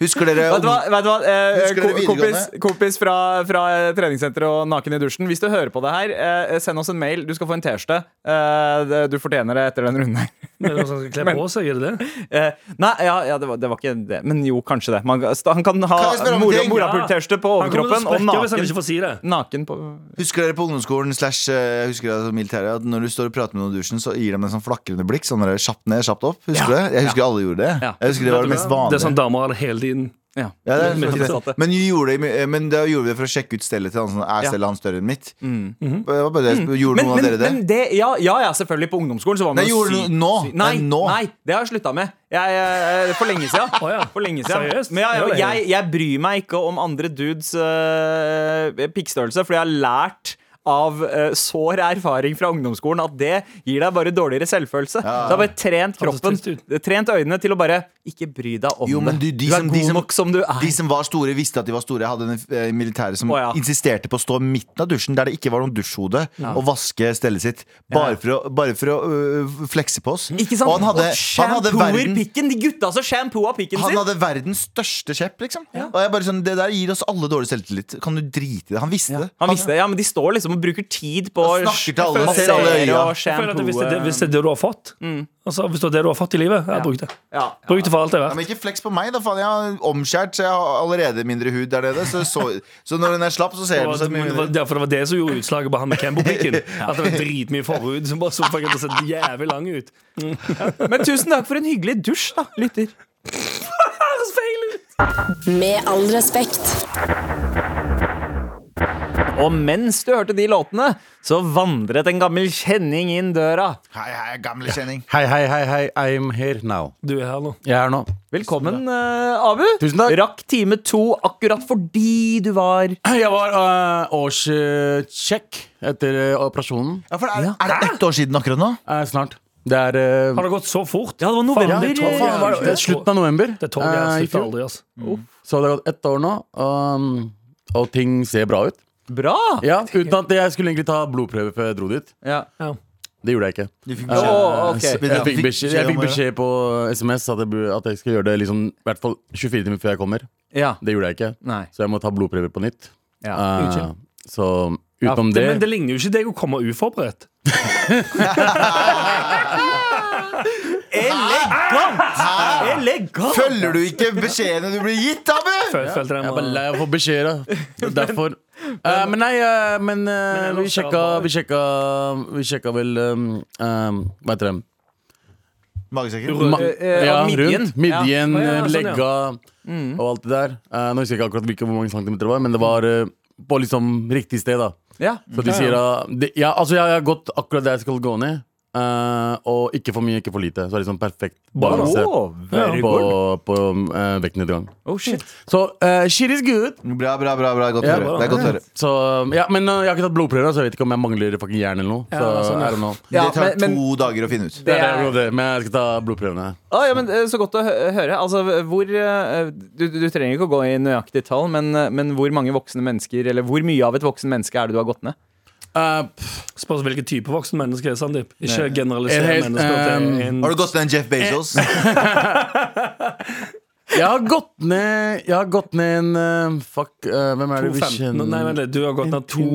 husker dere Vet du hva, vet du hva? Eh, Husker dere ko- kompis, videregående? kompis fra, fra eh, treningssenteret og naken i dusjen. Hvis du hører på det her, eh, send oss en mail. Du skal få en T-skjorte. Eh, det- du fortjener det etter den runden her. *laughs* Er det noe som skal kle på seg, er det det? Eh, nei, ja, ja det, var, det var ikke det. Men jo, kanskje det. Man, han kan ha Kan jeg spørre om en ting? morapulte-T-skjorte på Han kommer til å overkroppen og sprekke hvis han ikke naken, får si det. naken på Husker dere på ungdomsskolen slash eh, jeg husker dere som militære, at når du står og prater med noen i dusjen, så gir de en sånn flakrende blikk? Sånn der, kjapt ned, kjapt opp. Husker du det? Jeg husker alle gjorde det. Ja. Jeg husker det var det mest vanlige. Det er sånn damer har det hele tiden. ja. Ja, *laughs* det er Men- faktisk det. Men, vi gjorde det, men da gjorde vi det for å sjekke ut stellet til han. Sånn, er stellet hans større enn mitt? Det var bare det jeg spurte. Mm. Gjorde Men, noen av men, dere det? men det ja, ja, ja, selvfølgelig. På ungdomsskolen så var man Nei, jo gjorde sykt- du nå? sykt- Nei, Nei, nå. nei, det har jeg slutta med. Jeg, eh, for lenge siden. *laughs* Å ja. For lenge siden. Seriøst? Men ja, ja, Det var det. jeg, jeg bryr meg ikke om andre dudes eh, pikkstørrelse, fordi jeg har lært av eh, sår erfaring fra ungdomsskolen at det gir deg bare dårligere selvfølelse. Så jeg har bare trent Høres kroppen, trist trent øynene til å bare ikke bry deg om Jo, men det. du, de er som- god de som- nok som du er. De som var store, visste at de var store. Jeg hadde en eh, militære som Å, ja. insisterte på å stå midten av dusjen, der det ikke var noen dusjhode, og vaske stellet sitt. Bare for å, bare for å øh, flekse på oss. ikke sant? Og han hadde, Og han hadde shampooer verden pikken. De gutta som shampooa pikken han sin. hadde verdens største kjepp, liksom. Og jeg bare sånn, Det der gir oss alle dårlig selvtillit. Kan du drite i det? Han visste det. Han visste det, ja, men de står liksom og bruker tid på å Han snakker til alle, massere ser alle i øya. og Jeg føler at Hvis det, er det, shampoo. hvis det er det du har fått mm. altså, Hvis det er det du har fått i livet, jeg bruk det. Ja. Bruk det for alt det er Ja, verdt. men ikke fleks på meg, da. Faen, jeg har omskjært, så jeg har allerede mindre hud der nede. Så, så, så når den er slapp, så ser Det den var, så mye det, var, mindre ja, for det var det som gjorde utslaget på han med *laughs* Cambo-pikken. At det var dritmye forhud som bare så faktisk hadde sett jævlig lang ut. Men tusen takk for en hyggelig dusj, da, lytter. Med all respekt. Og mens du hørte de låtene, så vandret en gammel kjenning inn døra. Hei, hei, gamle kjenning. Hei, hei, hei, hei, I'm here now. Du er her nå. Jeg er her nå. Velkommen, eh, Abu. Tusen takk. Rakk time to akkurat fordi du var Jeg var uh, årssjekk etter eh, operasjonen. Ja, for er, er det ett år siden akkurat nå? Eh, snart. Det er eh, Har det gått så fort? Ja, det var Faen, november, det toget eh, her- var det er slutten av november. Det toget her eh, i slutter fjor. aldri, altså. Så det har gått ett år nå, um, og ting ser bra ut. bra. Ja, Uten at jeg skulle egentlig ta blodprøve før jeg dro dit. Ja. Det gjorde jeg ikke. Eh, Du fikk Å, beskjed. ok. Jeg fikk beskjed, om jeg fikk å gjøre det. beskjed på SMS at jeg, bu- at jeg skal gjøre det liksom, i hvert fall 24 timer før jeg kommer. Ja. Det gjorde jeg ikke. Nei. Så jeg må ta blodprøver på nytt. Ja. Eh, Unnskyld. så utenom Det, men det det ligner jo ikke deg å komme uforberedt. Elegant! Følger du ikke beskjedene du blir gitt, Abu? Før jeg følte Jeg den er bare var lei av å få beskjeder. Derfor. Eh, men nei, eh, men, Men eh, vi, ellers er det sjekka, bra. vi sjekka Vi sjekka vel um, um, Hva heter det? Magesekken? Ma eh, ja, midjen. rundt. Ja. Å, Midjen, ja, eh, sånn, ja. legga og alt det der. Eh, nå husker jeg ikke akkurat hvilke, hvor mange centimeter det var, men det var eh, på liksom riktig sted. da Ja. Så de sier da de, ja, Altså, jeg har gått akkurat der jeg skal gå ned. eh, og ikke for mye, ikke for lite. Så det er liksom perfekt balanse Å, very på, good. på eh, vektnedgang. Oh, shit. Så eh, shit is good. Bra, bra, bra. bra. Godt å Ja, høre. bra. Det er godt å høre. Så, ja, men uh, jeg har ikke tatt blodprøver, så jeg vet ikke om jeg mangler fucking jern eller noe. så, sånn, ja. I don't know. Ja, Det tar men- men- to dager å finne ut. Det er jo det, men jeg skal ta blodprøvene. Å, ja, men eh, Så godt å hø- høre. Altså, hvor, eh, du, du du trenger ikke å gå i nøyaktig tall, men, eh, men hvor mange voksne mennesker Eller hvor mye av et voksen menneske er det du har gått ned? Uh, pff, Spørs hvilken type voksen menneske er, Sandeep. Ikke En generalisere helt, eh, mennesker til en Har du gått til den Jeff Bezos? jeg har gått ned Jeg har gått ned en uh, Fuck, uh, hvem er det vi 2,15 kjenner? Nei, vent litt. Du har gått ned to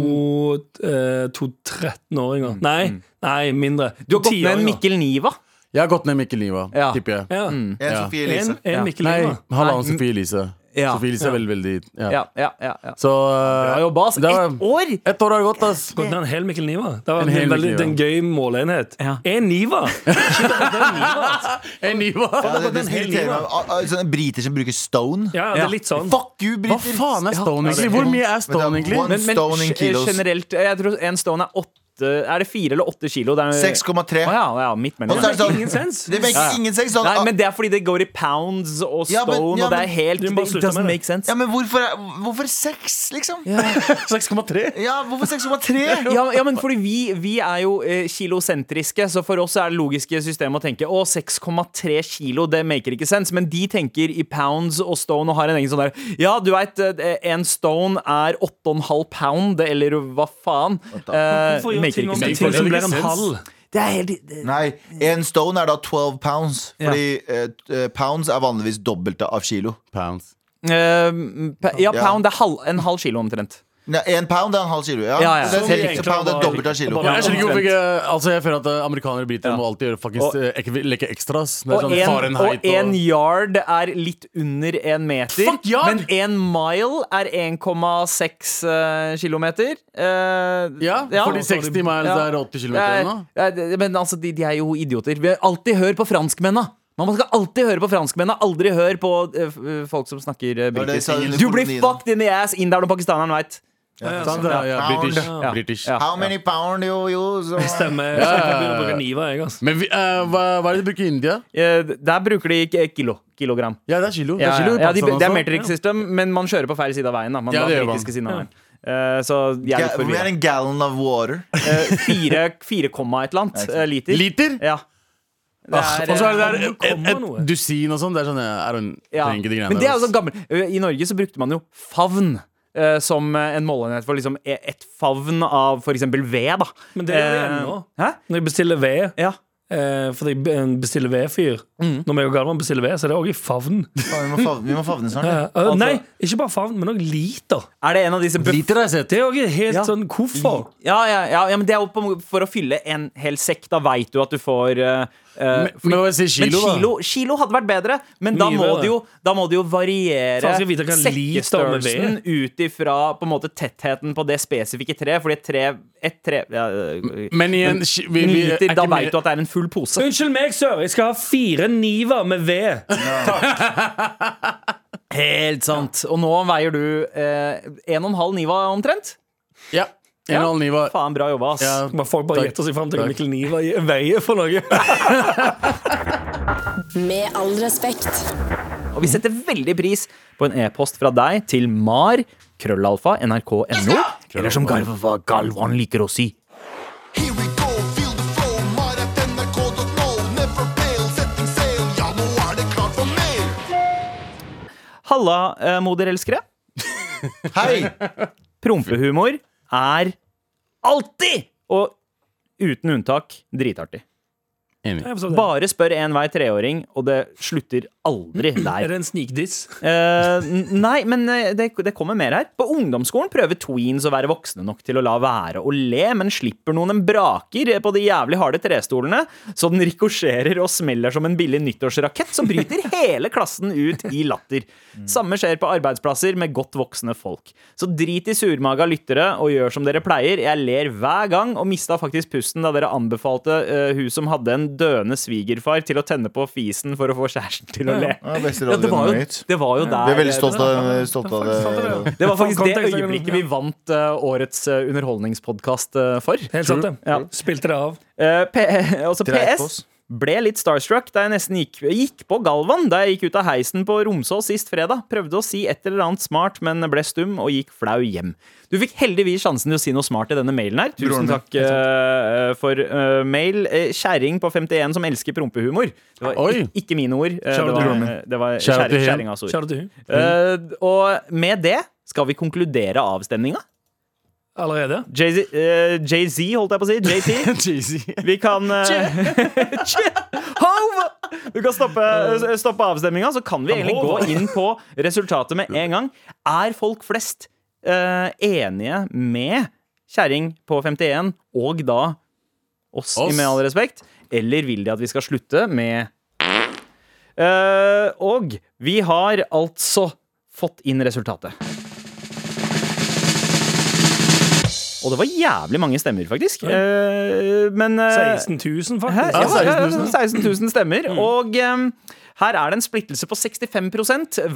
eh, to 13-åringer. Nei, nei, mindre. Du har gått ned en Mikkel Niva. Jeg har gått ned Mikkel Niva, Ja. tipper jeg. Ja. En Ja. Sofie En, Elise. en Ja. Mikkel Nei, Niva. halvannen Nei, Sofie Elise. Ja. Sofie Elise er veldig, veldig ja. Ja, ja, ja, ja. Så uh, Bra jobba, ass. det var- altså, Ett år! Ett år har det gått, ass. Gått ned en hel Mikkel Niva. Det var En en, hel veldig, Mikkel det er en gøy måleenhet. Ja. En Niva! altså. En Niva! Ja, det, det, det irriterer meg. Al- al- ah, Sånne briter som bruker stone. Ja, det Ja. er litt sånn. Fuck you, Hva briter! faen er stone Ja, det egentlig? Hvor mye er stone Men det er egentlig? one- Men, men Stone in ge- kilos. generelt eh, Jeg tror en stone er åtte Er det fire eller åtte kilo? Det er- 6,3. Å ja, ja, midt mellom. Og så er det sånn- Ingen sens. Det Ja. makes ingen sense. Sånn, Nei, men det er fordi det går i pounds og stone, Ja, men- ja, og det men- er helt Du må bare It slutte doesn't med det. make sense. ja, men hvorfor, er- hvorfor sex, liksom? 6,3? Ja, hvorfor 6,3? Ja, ja, men fordi vi, vi er jo eh, kilosentriske, så for oss er det logiske systemet å tenke å, 6,3 kilo, det maker ikke sens. Men de tenker i pounds og stone og har en egen sånn der Ja, du veit, en stone er 8,5 pound, eller hva faen. Eh, Hvorfor gjør maker ting ikke om til sens. ting som Det blir er en ikke halv? Det er helt det- Nei, en stone er da 12 pounds. Fordi eh, eh, pounds er vanligvis dobbelte av kilo. Pounds. eh, pa- Ja, Ja. pound er halv, en halv kilo omtrent. Nei, en pound er en halv kilo. Ja, Ja, ja. Så det Så er mye riktig enklere pound er å bare- dobbelt av kilo. bare- Jeg skjønner ikke hvorfor ikke Altså jeg føler at eh, amerikanere og britere Ja. må alltid gjøre fucking Og- eh, ikke- leke ekstras. Det er Og sånn en, Fahrenheit og en og yard er litt under en meter. Fuck yard! Men en mile er 1,6 eh, kilometer. Eh, Ja, fordi 60 miles Ja. er 80 Det km er- eller noe. det er- det- Men altså, de, de er jo idioter. Vi har alltid hør på franskmennene. Man skal alltid høre på franskmennene, aldri hør på eh, f- eh, folk som snakker eh, det jeg britisk. sa under Du blir kolonien. fucked in the ass inn der når pakistaneren veit. Sant, ja, ja, British. Pound. Ja. British. Ja. How many pound you use? Stemmer. Så jeg begynner å bruke Niva, jeg, altså. Men vi, eh, hva, hva er det de bruker i India? Eh, Der bruker de ikke eh, kilo. Kilogram. Ja, det er kilo. Det Ja, ja, er, kilo altså. i ja, de, Pakistan det er Sånn også. metric system, men man kjører på feil side av veien. Da. Man Ja, ja, det gjør man. britiske siden av veien. Eh, så jeg er litt Hvor mye er forvirra. en gallon of water? Eh, Fire, fire komma et eller annet eh, liter. Liter? Ah, Ja. Det er, eh, Og så er det der eh, Hvor kommer et, noe? et dusin og sånn. Det er sånn eh, I don't, ja. trenger ikke de greiene Men det er der, altså. jo sånn ass. gammel eh, I Norge så brukte man jo favn. eh, Som eh, en måleenhet for liksom eh, et favn av f.eks. ved. da Men det gjør Eh, det ennå. Hæ? Når jeg bestiller ved, Ja. eh, fordi jeg bestiller ved-fyr. Når meg og Galvan bestiller ved, så er det òg i favn. Faen, vi, må favne, vi må favne snart. Eh, ja. eh, nei, ikke bare favn, men òg liter. Er det en av disse buff... Liter har jeg sett. Det er òg helt Ja. sånn Hvorfor? Ja, ja, ja, ja, men det er jo på, for å fylle en hel sekk. Da veit du at du får eh, eh, Men- men hva sier kilo, men da? kilo, kilo hadde vært bedre, men da Mye må, bedre. det jo, da må det jo variere Faen, skal jeg vite hva en liter med ved sekkestørrelsen ut ifra på en måte tettheten på det spesifikke treet. Fordi et tre, et tre ja, øh, Men igjen ki- vi, vi, er liter, ikke Da med- veit du at det er en full pose. Unnskyld meg, sør. Jeg skal ha fire niver med ved. Helt sant. Og nå veier du eh, 1,5 niva omtrent. Ja. En og en halv niva. Faen, bra jobba, ass. Ja. Men Folk bare Takk. gjetter seg fram til hva Takk. Mikkel Niva veier for noe. Med all respekt. Og vi setter veldig pris på en e-post fra deg til mar krøllalfa nrk.no, eller som Galvan, Galvan liker å si. Here we go, feel the flow, mar at nrk.no. Never fail, setting sail, ja nå er det klart for mer. Halla, eh, moderelskere. Hei! Prompehumor er alltid, og uten unntak, dritartig. Enig. Bare spør en vei treåring, og det slutter aldri Er der. det en snikdiss? Eh, n- nei, men eh, det, det kommer mer her. På ungdomsskolen prøver tweens å være voksne nok til å la være å le, men slipper noen en braker på de jævlig harde trestolene, så den rikosjerer og smeller som en billig nyttårsrakett som bryter hele klassen ut i latter. Samme skjer på arbeidsplasser med godt voksne folk. Så drit i surmaga lyttere og gjør som dere pleier. Jeg ler hver gang og mista faktisk pusten da dere anbefalte eh, hun som hadde en døende svigerfar til å tenne på fisen for å få kjæresten til å le. Ja, beste Ja, det, var jo, radioen mitt. det var jo der Vi er veldig stolt av, stolt av det. Det var faktisk det Kontekst, øyeblikket vi vant eh, årets uh, underholdningspodkast eh, for. Helt sant, det. Ja. Spilte det av. Eh, P *laughs* altså Dreit på PS. oss. Ble litt starstruck da jeg nesten gikk, gikk på Galvan da jeg gikk ut av heisen på Romsås sist fredag. Prøvde å si et eller annet smart, men ble stum og gikk flau hjem. Du fikk heldigvis sjansen til å si noe smart i denne mailen her. Tusen Broren min. takk eh, for eh, mail. Eh, Kjerring på 51 som elsker prompehumor. Det var Oi. ik- ikke mine ord. Eh, Shout det out til var, broren eh, det var Shout out kjerring- til him. kjerringas ord. Kjære du. Eh, og med det skal vi konkludere avstemninga. Allerede? Jay-Z, eh, Jay-Z, holdt jeg på å si. *laughs* JT. Jay-Z. Vi kan eh, *laughs* Hov! Du kan stoppe, eh, stoppe avstemninga, så kan vi egentlig gå inn på resultatet med en gang. Er folk flest eh, enige med Kjerring på 51 og da oss, i Oss. Med all respekt, eller vil de at vi skal slutte med Eh, Og vi har altså fått inn resultatet. Og det var jævlig mange stemmer, faktisk. Eh, men eh, 16 000, Hæ? faktisk. Ja, Ja, 16 000. 16 000 stemmer. Og em, her er det en splittelse på 65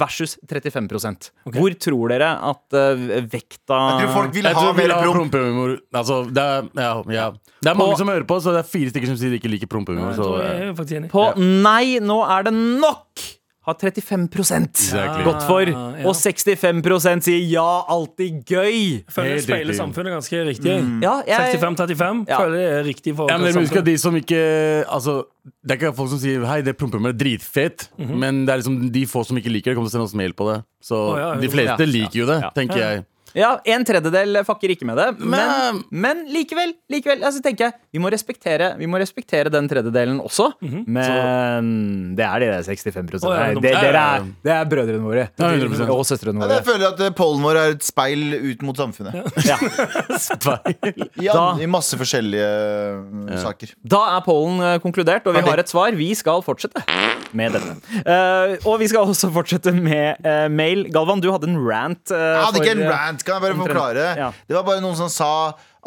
versus 35 Hvor tror dere at eh, vekta Jeg tror folk vil Jeg ha tror vi mer vil ha promp. prompehumor. Altså, det er, ja, ja. Det er mange Og- som hører på, så det er fire stykker som sier de ikke liker prompehumor. Så, Jeg eh, er faktisk enig. På nei, nå er det nok! Har 35 Exactly. gått for. Ja. Og 65 sier ja, alltid gøy. Jeg Føler jeg Helt speiler riktig. samfunnet ganske riktig. Ja, jeg, 65-35 Mm. Ja. føler jeg er riktig. for ja, men dere må huske samfunnet. at de som ikke altså, Det er ikke folk som sier Hei, det prompehumor er dritfett, men det er liksom de få som ikke liker det, kommer til å sende oss mail på det. Så ja, ja. de fleste liker jo det, tenker jeg. ja, en tredjedel fucker ikke med det. Men, Men- men likevel, likevel altså, tenker jeg, vi må, respektere, vi må respektere den tredjedelen også. Men det er de der 65 Å, ja, Nei, de- det, dere ja, ja. er, det er brødrene våre. Ja, 100%. Og søstrene Jeg våre. føler at eh, pollen vår er et speil ut mot samfunnet. Ja. I, an- Da- i masse forskjellige eh, saker. Da er pollen eh, konkludert, og vi har et svar. Vi skal fortsette med dette. Eh, og vi skal også fortsette med eh, mail. Galvan, du hadde en rant. eh, Jeg hadde ikke for, en eh, rant, kan jeg bare omtrent- forklare? Ja. Det var bare noen som sa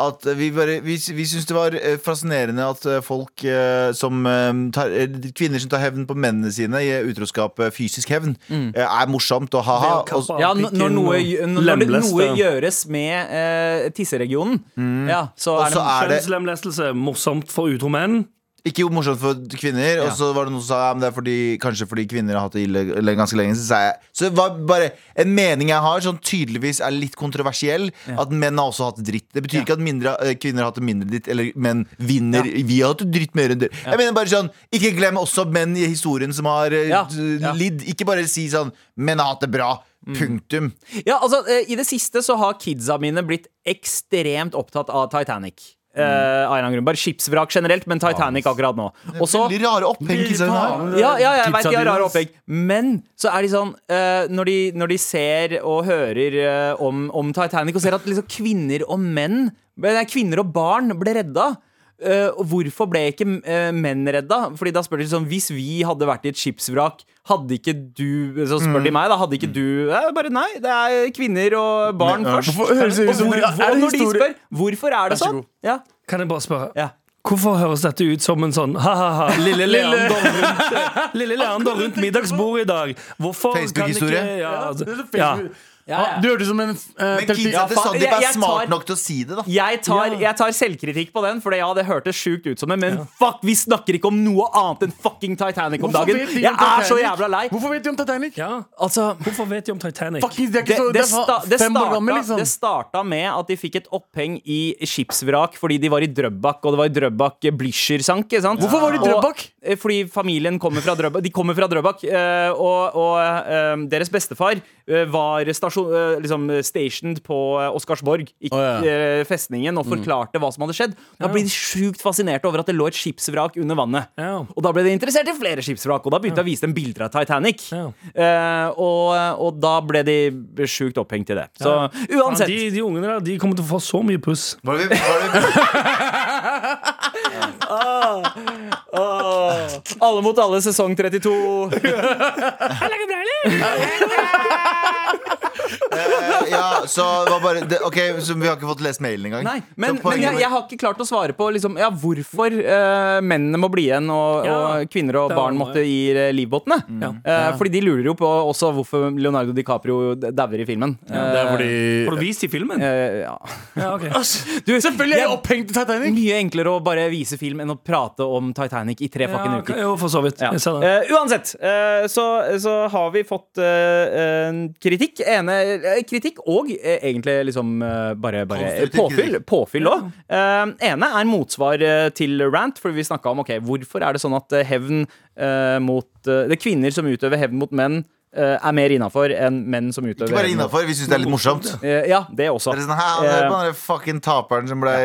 at vi, bare, vi, vi syntes det var eh, fascinerende at eh, folk eh, som eh, tar, eh, Kvinner som tar hevn på mennene sine i utroskap, eh, fysisk hevn, Mm. eh, er morsomt og ha-ha. Det å kappe og- Ja, n- når noe, Pikken og når det, noe lemleste. gjøres med eh, tisseregionen, ja, så Og er det så er det Kjønnslemlestelse. Morsomt for utro menn. ikke morsomt for kvinner. Og så var det noen som sa ja, men det er fordi, kanskje fordi kvinner har hatt det ille eller ganske lenge. Så, sa jeg, så det var bare en mening jeg har som tydeligvis er litt kontroversiell. At menn har også hatt det dritt. Det betyr ikke at mindre, eh, kvinner har hatt det mindre dritt, eller menn vinner. Vi har hatt det dritt mer enn dere. Jeg mener bare sånn, Ikke glem også menn i historien som har eh, Ja. d- Ja. Mm. lidd. Ikke bare si sånn menn har hatt det bra. Punktum. Ja, altså, eh, I det siste så har kidsa mine blitt ekstremt opptatt av Titanic. eh, av en eller annen grunn. Bare skipsvrak generelt, men Titanic akkurat nå. Og så Veldig rare oppheng i seg hun har. ja, ja, jeg vet Kidsa de har dine. rar opplegg. Men så er de sånn eh, når, de, når de ser og hører eh, om, om Titanic og ser at liksom kvinner og menn nei, Kvinner og barn ble redda. eh, og hvorfor ble ikke eh, menn redda? Fordi da spør de sånn Hvis vi hadde vært i et skipsvrak, hadde ikke du Så spør Mm. de meg, da. Hadde ikke du eh, Bare nei, det er kvinner og barn først. Hvorfor høres det ut som- og, hvor, er det og når de historie- spør hvorfor er det så sånn, god. ja, Kan jeg bare spørre? ja. Hvorfor høres dette ut som en sånn ha-ha-ha? *laughs* Lille Leander *laughs* rundt, lille Leander rundt middagsbordet i dag. Hvorfor kan ikke Facebook-historie? ja, altså, ja. Ja. Ah, Du hørtes ut som en eh, Men telti- kidsa til faen, Sandeep jeg- er jeg tar- smart nok til å si det, da. Jeg tar, Ja. jeg tar selvkritikk på den, for ja, det hørtes sjukt ut som det, men fuck, vi snakker ikke om noe annet enn fucking Titanic om Hvorfor dagen. vet de Jeg om er så Titanic? jævla lei. Hvorfor vet de om Titanic? ja. Altså, Hvorfor vet de om Titanic? Fucking, det er det, ikke så, det, det er sta, det, fem år starta, gammel, liksom. det starta med at de fikk et oppheng i skipsvrak fordi de var i Drøbak, og det var i Drøbak eh, Blücher sank. ikke sant? Hvorfor var de i Og- Drøbak? eh, fordi familien kommer fra Drøbak. De kommer fra Drøbak, eh, og, og eh, deres bestefar eh, var stasjon, eh, liksom stationed på eh, Oscarsborg, i Å, ja. Mm. eh, festningen, og forklarte hva som hadde skjedd. Da ble de sjukt fascinerte over at det lå et skipsvrak under vannet. Ja. Og da ble de interessert i flere skipsvrak, og da begynte jeg å vise dem bilder av Titanic. Ja. Eh, og, og da ble de sjukt opphengt i det. Så Faen, uansett. de, de ungene der de kommer til å få så mye puss. Var det, var det, Alle mot alle, sesong *laughs* 32. eh, ja, så det var bare det, Ok, så vi har ikke fått lest mailen engang. Nei, Så men, poenget men jeg, med- jeg har ikke klart å svare på liksom, ja, hvorfor eh, mennene må bli igjen, og, Ja, og kvinner og det Mm. var barn noe. måtte i eh, livbåtene. Eh, fordi de lurer jo på også hvorfor Leonardo DiCaprio dauer i filmen. Det er fordi Har du vist i filmen? Eh, ja. Altså, Ja, *laughs* ok Eh, Du, selvfølgelig Jeg er opphengt i Titanic! Mye enklere å bare vise film enn å prate om Titanic i tre fucking Ja, uker. jo, for så vidt. Ja. Jeg ser det. Eh, uansett, eh, så, så har vi fått eh, en kritikk. Ene, eh, kritikk og eh, egentlig liksom eh, bare, bare eh, Konstruktiv påfyll. Påfyll òg. ene er motsvar eh, til rant, for vi snakka om ok, hvorfor er det sånn at eh, hevn eh, mot eh, Det er kvinner som utøver hevn mot menn, eh, er mer innafor enn menn som utøver Ikke bare hevn mot- innafor, vi syns det er litt morsomt. Det Eh, ja, det også. er sånn, hæ, det er Eh, bare den fucking taperen som ble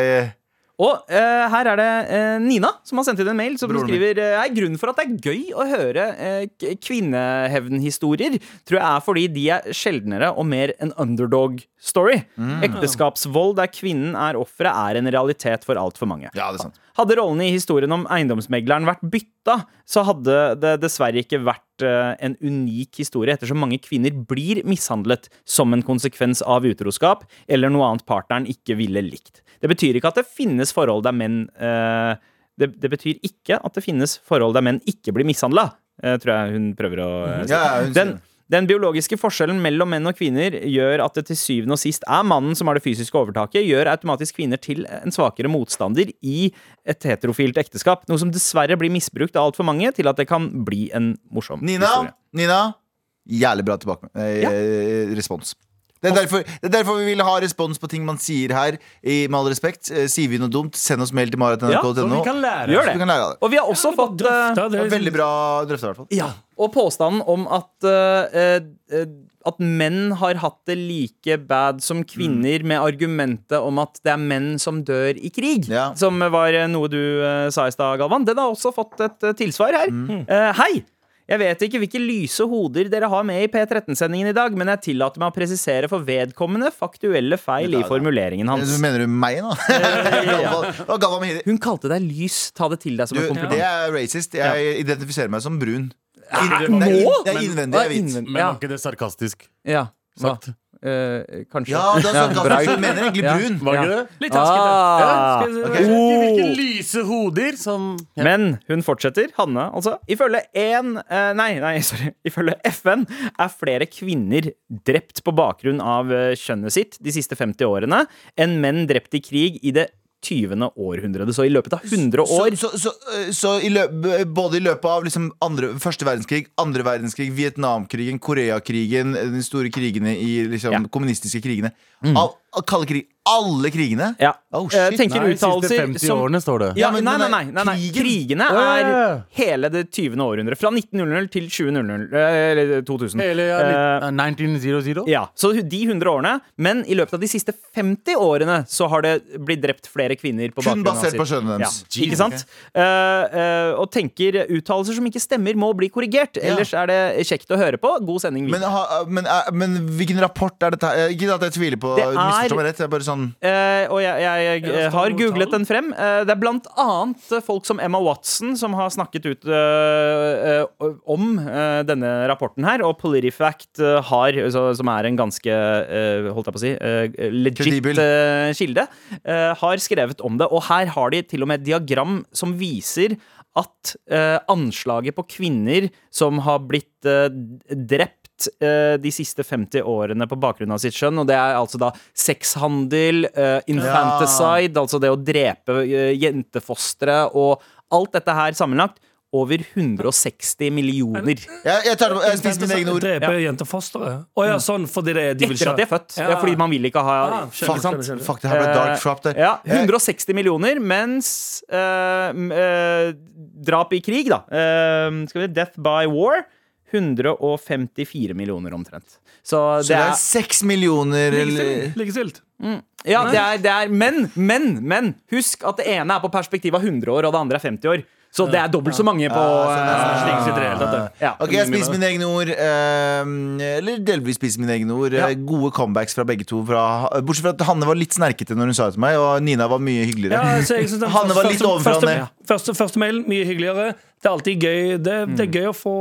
Og eh, her er det eh, Nina som har sendt inn en mail som Broren min. skriver uh, er grunnen for at det er gøy å høre eh, k- kvinnehevnhistorier, tror jeg er fordi de er sjeldnere og mer en underdog-story. Mm. Ekteskapsvold der kvinnen er offeret, er en realitet for altfor mange. Ja, det er sant. Hadde rollen i historien om eiendomsmegleren vært bytta, så hadde det dessverre ikke vært eh, en unik historie, ettersom mange kvinner blir mishandlet som en konsekvens av utroskap eller noe annet partneren ikke ville likt. Det betyr ikke at det finnes forhold der menn eh, det, det betyr ikke at det finnes forhold der menn ikke blir mishandla, tror jeg hun prøver å eh, si. Ja, ja, hun sier Den, det. den biologiske forskjellen mellom menn og kvinner gjør at det til syvende og sist er mannen som har det fysiske overtaket, gjør automatisk kvinner til en svakere motstander i et heterofilt ekteskap. Noe som dessverre blir misbrukt av altfor mange til at det kan bli en morsom Nina, historie. Nina jævlig bra tilbake, eh, respons. Det er, derfor, det er derfor vi vil ha respons på ting man sier her. I, med all respekt, eh, Sier vi noe dumt, send oss mail Ja, til marat.nrk.no. Så vi kan lære. Gjør Så vi kan det. lære av det. Og vi har også fått eh, Da, det er liksom- Veldig bra drøfta, i hvert fall. Ja, og påstanden om at eh, eh, At menn har hatt det like bad Mm. som kvinner med argumentet om at det er menn som dør i krig. Ja. Som var eh, noe du eh, sa i stad, Galvan. Den har også fått et eh, tilsvar her. Mm. Mm. Eh, hei! Jeg vet ikke hvilke lyse hoder dere har med i P13-sendingen i dag, men jeg tillater meg å presisere for vedkommende faktuelle feil i formuleringen hans. Eh, Så mener du meg, nå? *laughs* Galvan- og Galvan Mehidi. Hun kalte deg lys. Ta det til deg som Du, en det kompliment. er racist. Jeg identifiserer meg som brun. det, nå? er in, det er innvendig, Hva jeg vet. innvend- Men Ja, var ikke det sarkastisk? ja. Hva? Sagt. Eh, kanskje. Ja, det er sånn, bra. Galvan, du mener egentlig Ja. brun. Var Ja. ikke det? litt taskete. Ah. Ja, skal jeg si Ok. det? Hvilke, hvilke lyse hoder som Men hun fortsetter, Hanne altså. Ifølge en, eh, nei, *laughs* nei, sorry. Ifølge FN er flere kvinner drept på bakgrunn av eh, kjønnet sitt de siste 50 årene enn menn drept i krig i det 20. århundredet. Så i løpet av 100 Så, år så, så, øh, så i løp, både i løpet av liksom andre, første verdenskrig, andre verdenskrig, Vietnamkrigen, Koreakrigen, de store krigene i liksom, Ja. Mm. kommunistiske krigene Av, av kalde krig alle krigene? Ja. Oh, shit. Eh, tenker Nei, siste uttalelser 50 som- årene står det. Ja, Ja, men- nei, nei, men- nei, nei, nei. krigen? Krigene Å, ja, ja, ja. er hele det 20. århundret. Fra 1900 til 2000, eh, eller 2000. Hele ja, Eh, litt- 1900? Ja, så de 100 årene, men i løpet av de siste 50 årene så har det blitt drept flere kvinner på Kun bakgrunn av basert sitt- på skjønnet deres. Ja, ikke sant? Eh, eh, og tenker uttalelser som ikke stemmer, må bli korrigert. Ellers er det kjekt å høre på. God sending. videre. Men, ha, men, eh, men hvilken rapport er dette? her? Eh, Ikke at jeg tviler på Det er- misforstå meg rett. Jeg er bare sånn Eh, og jeg, jeg, jeg, det har noen googlet tall? den frem. Eh, det er blant annet eh, folk som Emma Watson som har snakket ut eh, eh, om eh, denne rapporten her. Og Politifact eh, har, så, som er en ganske eh, holdt jeg på å si, eh, legit Kredibel. eh, kilde, eh, har skrevet om det. Og her har de til og med et diagram som viser at eh, anslaget på kvinner som har blitt eh, drept eh, de siste 50 årene på bakgrunn av sitt skjønn, og det er altså da sexhandel, eh, infanticide, altså det å drepe eh, jentefostre og alt dette her sammenlagt, over 160 *laughs* millioner. Jeg, jeg, tar, jeg spiser mine egne ord. Drepe jentefosteret. Å ja, sånn, fordi det er de vil Etter at de er født. Ja, fordi man vil ikke ha Ah, skjønner, ikke sant? skjønner, skjønner. Fuck, det Eh, her ble dark trap der. Ja, Jeg- 160 millioner, mens eh, m- eh, drap i krig, da eh, Skal vi Death by war. 154 millioner omtrent. Så Så det er, seks millioner eller Likestilt. ja, det er, det er Men, men, men! Husk at det ene er på perspektiv av 100 år, og det andre er 50 år. Så det er dobbelt så mange på eh, slik sitt reelt at det- ja. Ok, jeg spiser mine egne ord. eh, eller delvis spiser mine egne ord. Eh, Gode comebacks fra begge to. Fra, bortsett fra at Hanne var litt snerkete når hun sa det til meg, og Nina var mye hyggeligere. Ja, så jeg synes den Hanne var første- litt ovenfra første, og ned. første, første mail, mye hyggeligere. Det er alltid gøy Det, det Mm. er gøy å få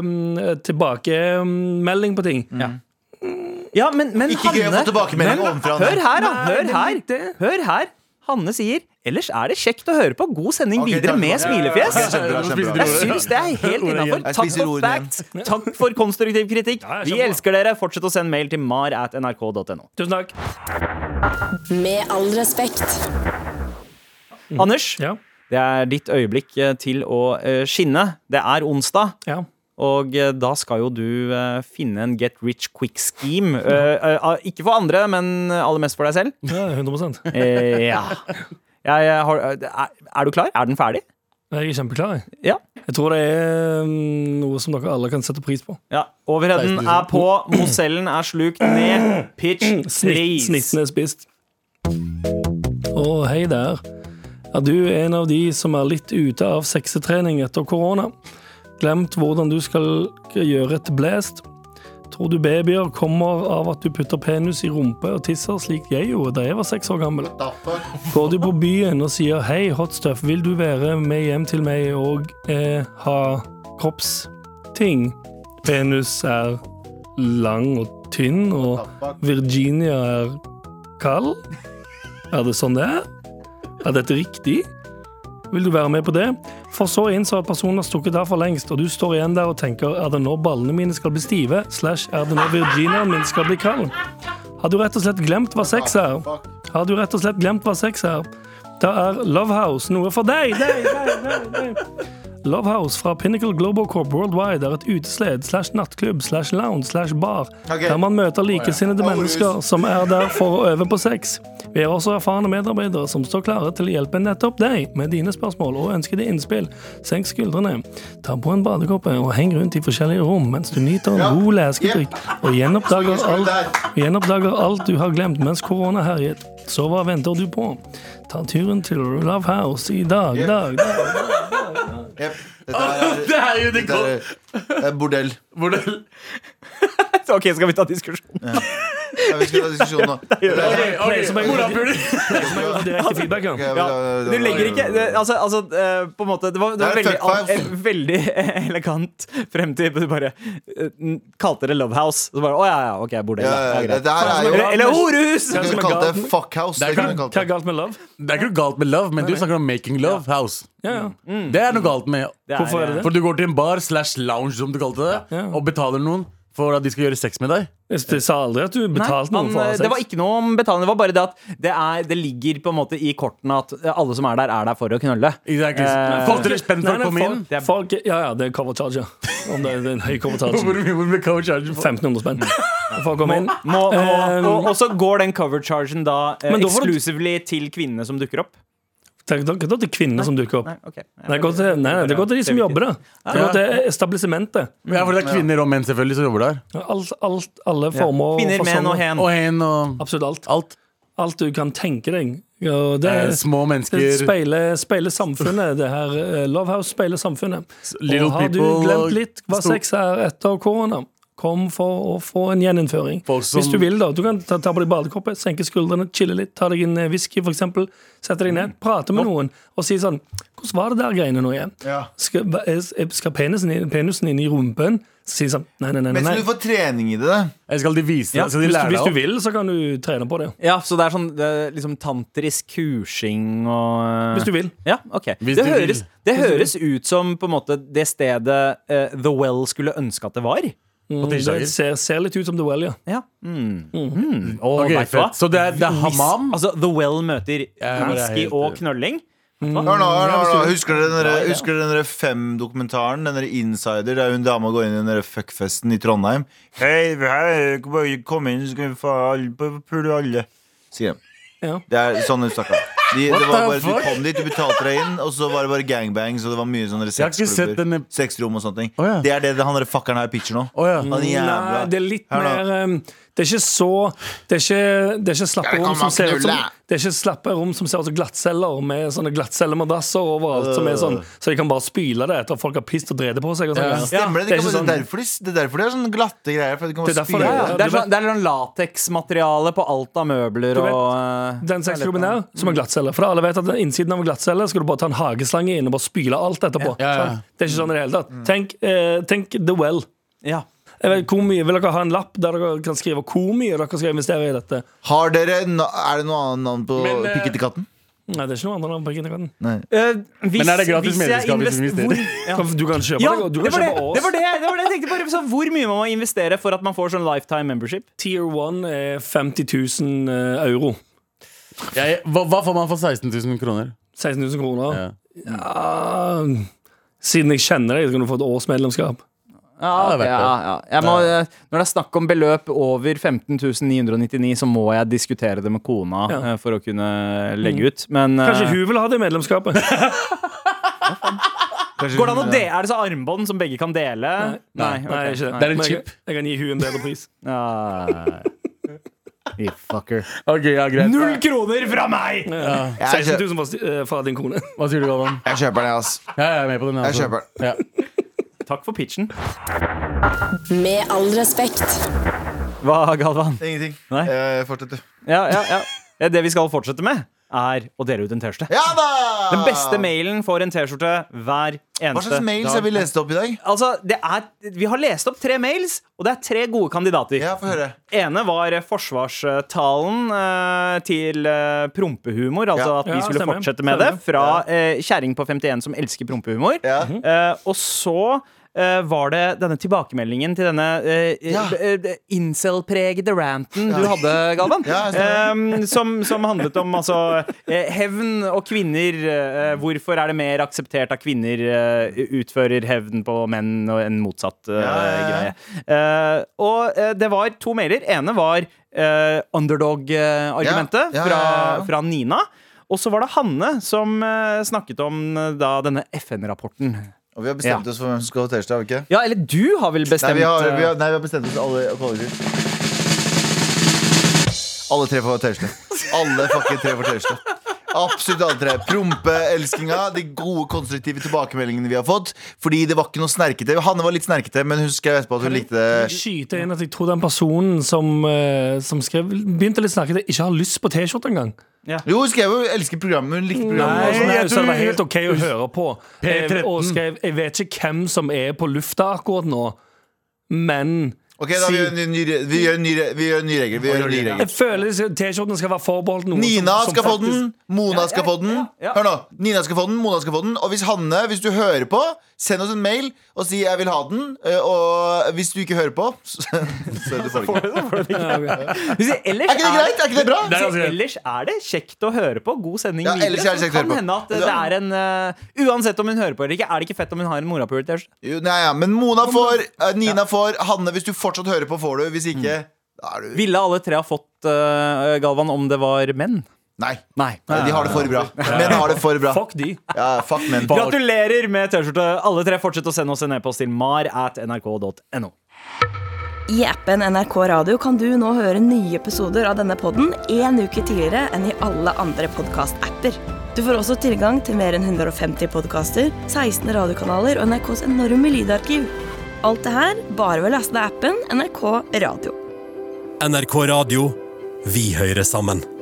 um, tilbakemelding på ting. Mm. Ja, men, men Ikke gøy å få Hanne- tilbakemelding men- ovenfra, Hanne. Hør her, da! Hør Nei, det her! Hør her. Hanne sier Ellers er det kjekt å høre på. God sending Ok, videre takk. med smilefjes. Ja, kjempebra, kjempebra. Jeg syns det er helt innafor. Jeg Takk spiser for ordet igjen. facts. Takk for konstruktiv kritikk. Ja, jeg Vi skjønner. elsker dere. Fortsett å sende mail til mar at nrk.no. Tusen takk. Med all respekt. Anders, Ja. det er ditt øyeblikk eh, til å eh, skinne. Det er onsdag. Ja. Og eh, da skal jo du eh, finne en get rich quick scheme. Eh, eh, ikke for andre, men aller mest for deg selv. *laughs* ja, 100 Jeg Eh, ja. Jeg, eh, har, er, er du klar? Er den ferdig? er kjempeklar. jeg. Ja. Jeg tror det er um, noe som dere alle kan sette pris på. ja. Overheden er på, Mosellen er slukt ned. Pitch Snitt, please. snitten er spist. Å, hei der. Er du en av de som er litt ute av seksetrening etter korona? Glemt hvordan du skal gjøre et blast? Tror du babyer kommer av at du putter penis i rumpe og tisser, slik jeg gjorde da jeg var seks år gammel? Går du på byen og sier 'hei, hotstuff, vil du være med hjem til meg og eh, ha kroppsting'? Penis er lang og tynn, og Virginia er kald. Er det sånn det er? Er dette riktig? Vil du være med på det? For så innså at personen har stukket av for lengst, og du står igjen der og tenker er det nå ballene mine skal bli stive, slash er det nå Virginiaen min skal bli kald? Har du rett og slett glemt hva sex er? Har du rett og slett glemt hva sex er? Da er Love House noe for deg! deg, deg, deg, deg. Love House fra Pinnacle Global Corp Worldwide er et utesled slash nattklubb slash lounge slash bar Ok. der man møter likesinnede Horus. mennesker som er der for å øve på sex. Vi har også erfarne medarbeidere som står klare til å hjelpe nettopp deg med dine spørsmål og ønskede innspill. Senk skuldrene, ta på en badekåpe og heng rundt i forskjellige rom mens du nyter en god leskedrikk og gjenoppdager alt, gjenoppdager alt du har glemt mens korona herjet. Så hva venter du på? Ta turen til Love House i dag, dag, dag. Jep, Dette er, Det er jo det dette er, det er bordell. Hvordan *laughs* Ok, skal vi ta diskusjonen? Ja, vi skal ta diskusjon nå. Pleier som jeg gjorde- Morapuler! pleier som jeg gjorde direkte feedback. Ok, ja. men Ja. da- da- Du legger ikke det, Altså, altså eh, på en måte Det var, det var Det er veldig, et fuck five. eh, *laughs* veldig elegant frem til du bare eh, kalte det Love House. Så bare Å ja, ja, OK, bordell. Ja, da. Det ja, er greit. dette her er jo Eller, eller horehus! Du som er kunne kalt gal- det fuckhouse. Det kunne du kalt Hva er det. galt med love? Det er ikke noe galt med love, men du snakker om making love house. Ja, ja. Det er noe galt med. Det Hvorfor er det det? For du går til en bar slash lounge, som du kalte det, Ja. og betaler noen for at de skal gjøre sex med deg. Jeg jeg sa aldri at du Nei, betalte noen han, eh, for å ha Det var sex. ikke noe om betaling. Det var bare det at det, er, det ligger på en måte i kortene at eh, alle som er der, er der for å knulle. Exactly. Eh, Folk til spenn for Nei, å komme nei, inn. Det er- folk, folk, ja, ja, det er cover charge, ja. Om det er en høy cover charge. Hvor mye hvor mye cover charge for? 1500 spenn. for å komme inn. Må, må, Um, Eh, og, og så går den cover chargen da eh, Men da får du- exclusively til kvinnene som dukker opp? Tenk dere det er kvinnene som dukker opp. Nei, ok. Det går til, nei, det går til de som jobber der. Det går til establissementet. Ja, for det er kvinner og menn selvfølgelig som jobber der. Alt, alt, alle former Kvinner, menn og fasonger. hen. Og hen og Absolutt alt. alt. Alt du kan tenke deg. Og det Eh, er Små Det mennesker. speiler, speiler samfunnet, det her. eh, Lovehouse speiler samfunnet. little og har du people og glemt litt hva stor- sex er etter korona? Kom for å få en gjeninnføring. Folk som- Hvis du vil, da. Du kan ta, ta på deg badekoppet, senke skuldrene, chille litt, ta deg en eh, whisky, for eksempel Sette deg ned, prate med noen og si sånn Hvordan var det der greiene nå igjen? Ja. Skal, hva er- skal penisen, i- penisen inn i rumpen? Si sånn Nei, nei, nei. nei, Men nei. skal du få trening i det? da? Jeg Eh, skal de vise Ja, deg? Skal de Hvis, du- lære hvis du deg vil, opp? så kan du trene på det. Ja, så det er sånn det er liksom tantrisk kursing og eh, Hvis du vil. Ja, ok. Det Hvis du vil. høres, det høres ut som på en måte det stedet eh, The Well skulle ønske at det var. Mm, tirsdager. det ser, ser litt ut som The Well, ja. Ja. Mm. Mhm. Og Ok, vet du hva? fett. Så det er, det er hammam? Altså, The Well møter bare whisky helt- eh, og knølling. Mm. Hør nå, hør nå, hør nå. Husker dere den derre- husker dere den derre Fem-dokumentaren? Den derre Insider, der hun dama går inn i den derre fuckfesten i Trondheim. Hei, hei, bare kom inn, så skal vi få alle på- pule alle. Sier de. ja. Det er sånn hun snakka. De, det What var bare, the at du fuck? kom dit, du betalte deg inn, og så var det bare gangbang. Så det var mye sånne har ikke sett sexklubber. denne- Sexrom og sånne ting. Å, ja. Det er det han der fuckeren her pitcher nå. Å, ja. Han jævla Nei, det er litt Hør nå. mer um, Det er ikke så Det er ikke, det er ikke slappe rom som ser ut som Det er ikke slappe rom som ser ut som glattceller, med sånne glattcellemadrasser overalt, som er sånn, så de kan bare spyle det etter at folk har pist og drevet på seg. Og sånn. Ja. Ja. Stemmer det? Det, Det kan, er ikke sånn det, er derfor de, det er derfor de har sånne glatte greier. For at de kan Det er bare derfor spyle. det- Det er sånn, det er sånn lateksmateriale på alt av møbler Du vet, og eh, Den sexklubben her, som er glattcelle. For alle vet at innsiden av en glattcelle skal du bare ta en hageslange inn og bare spyle alt etterpå. Ja, ja. Sånn. Det er ikke sånn i det hele tatt. Tenk, eh, tenk The Well. Ja. Jeg vet, hvor mye, vil dere ha en lapp der dere kan skrive hvor mye dere skal investere i dette? Har dere na Er det noe annet navn på Men, eh, pikket til katten? Nei, det er ikke noe annet enn Brikkinekatten. Eh, hvis, Men er det gratis hvis jeg medlemskap hvis du invest- investerer? *laughs* Hvor- Ja. Du kan kjøpe Ja, deg, og du det var kan det, kjøpe oss. det, var det, det var det jeg tenkte på. Så hvor mye man må investere for at man får sånn lifetime membership? Tier 1 er 50 000 eh, euro. Jeg, hva, hva får man for 16 000 kroner? 16 000 kroner. Ja. Ah, siden jeg kjenner deg, så kan du få et årsmedlemskap. Ja, det er verdt det. Jeg må, eh, når det er snakk om beløp over 15.999, så må jeg diskutere det med kona Ja. eh, for å kunne legge ut. Men eh, Kanskje hun vil ha det medlemskapet? Går det an å de- Er det så armbånd som begge kan dele? Nei, ok. Nei, ikke det. Det er en Men chip. Jeg, jeg kan gi hun en bedre pris. Ah. You fucker. Ok, ja, greit Null kroner fra meg! 16 Jeg, 000 fra, sti- eh, fra din kone. Hva sier du, Galvan? kjø- jeg kjøper den, ass. Ja, jeg er med på den. Jeg kjøper den. Ja. Takk for pitchen. Med all respekt. Hva, Galvan? Ingenting. Nei. Eh, Fortsett, du. Ja, ja, ja. ja. Det vi skal fortsette med, er å dele ut en T-skjorte. Ja da! Den beste mailen får en T-skjorte hver eneste Hva slags mails har vi lest opp i dag? Altså, det er, Vi har lest opp tre mails, og det er tre gode kandidater. Ja, få høre. ene var forsvarstalen eh, til eh, prompehumor, altså Ja. at vi Ja, skulle stemmer. fortsette med Stemmer. det, fra eh, kjerring på 51 som elsker prompehumor. Ja. Eh, og så eh, var det denne tilbakemeldingen til denne eh, Ja. eh, eh, incel-pregede ranten du hadde, Galvan. Ja, stemmer. Eh, som, som handlet om altså eh, hevn og kvinner. eh, hvorfor er det mer akseptert at kvinner eh, utfører hevn på menn og en motsatt eh, Ja, ja, ja. greie? Eh, og eh, det var to mailer. Ene var eh, underdog-argumentet Ja, ja, ja, ja. Fra, fra Nina. Og så var det Hanne som eh, snakket om eh, da denne FN-rapporten. Og vi har bestemt Ja. oss for hvem som skal ha T-skjorte, har vi ikke? Ja, eller du har vel Nei, bestemt vi har, vi har, eh, nei, vi har bestemt oss alle kollektivt. Alle tre får T-skjorte. Alle fucking tre får T-skjorte. Absolutt alle tre. Prompeelskinga, de gode konstruktive tilbakemeldingene vi har fått. Fordi det var ikke noe snerkete. Hanne var litt snerkete, men hun skrev etterpå at hun likte Eh. det. Skyte inn at jeg tror den personen som, eh, som skrev, begynte litt snakkete, ikke har lyst på T-skjorte engang. Jo, hun skrev jo elsker programmet. Hun Mm. likte Nei, programmet. og sånn. jeg tror det var helt OK å høre på. P13. Eh, Og skrev Jeg vet ikke hvem som er på lufta akkurat nå, men Ok, da vi gjør en ny- ny, re- vi gjør en ny, re- vi gjør en ny regel. Vi gjør en ny regel. Jeg føler disse T-skjortene skal være forbeholdt noen Nina som, som skal få faktisk- den, Mona skal få den. Hør nå, Nina skal få den, Mona skal få den. Og hvis Hanne, hvis du hører på, send oss en mail og si 'jeg vil ha den'. eh, Og hvis du ikke hører på, *laughs* så så du får den ikke. eh, hvis det- Ellers Er ikke det greit? Er ikke det bra? Så ellers er det kjekt å høre på. God sending Ja, ellers er det videre. Så kjekt å høre kan på. hende at eh, det er en eh, Uansett om hun hører på eller ikke, er det ikke fett om hun har en morapuler. Jo, Nei, ja, men Mona får, eh, Nina får, Hanne hvis du fortsatt hører på, får du. Hvis ikke Da er du Ville alle tre ha fått, eh, Galvan, om det var menn? Nei. Nei. Nei, de har det for bra. Menn har det for bra. Fuck de. Ja, fuck menn. Gratulerer med T-skjorte. Alle tre fortsett å sende oss en e-post til mar at nrk.no. I appen NRK Radio kan du nå høre nye episoder av denne podden en uke tidligere enn i alle andre podcast-apper. Du får også tilgang til mer enn 150 podcaster, 16 radiokanaler og NRKs enorme lydarkiv. Alt det her bare ved å laste ned appen NRK Radio. NRK Radio. Vi hører sammen.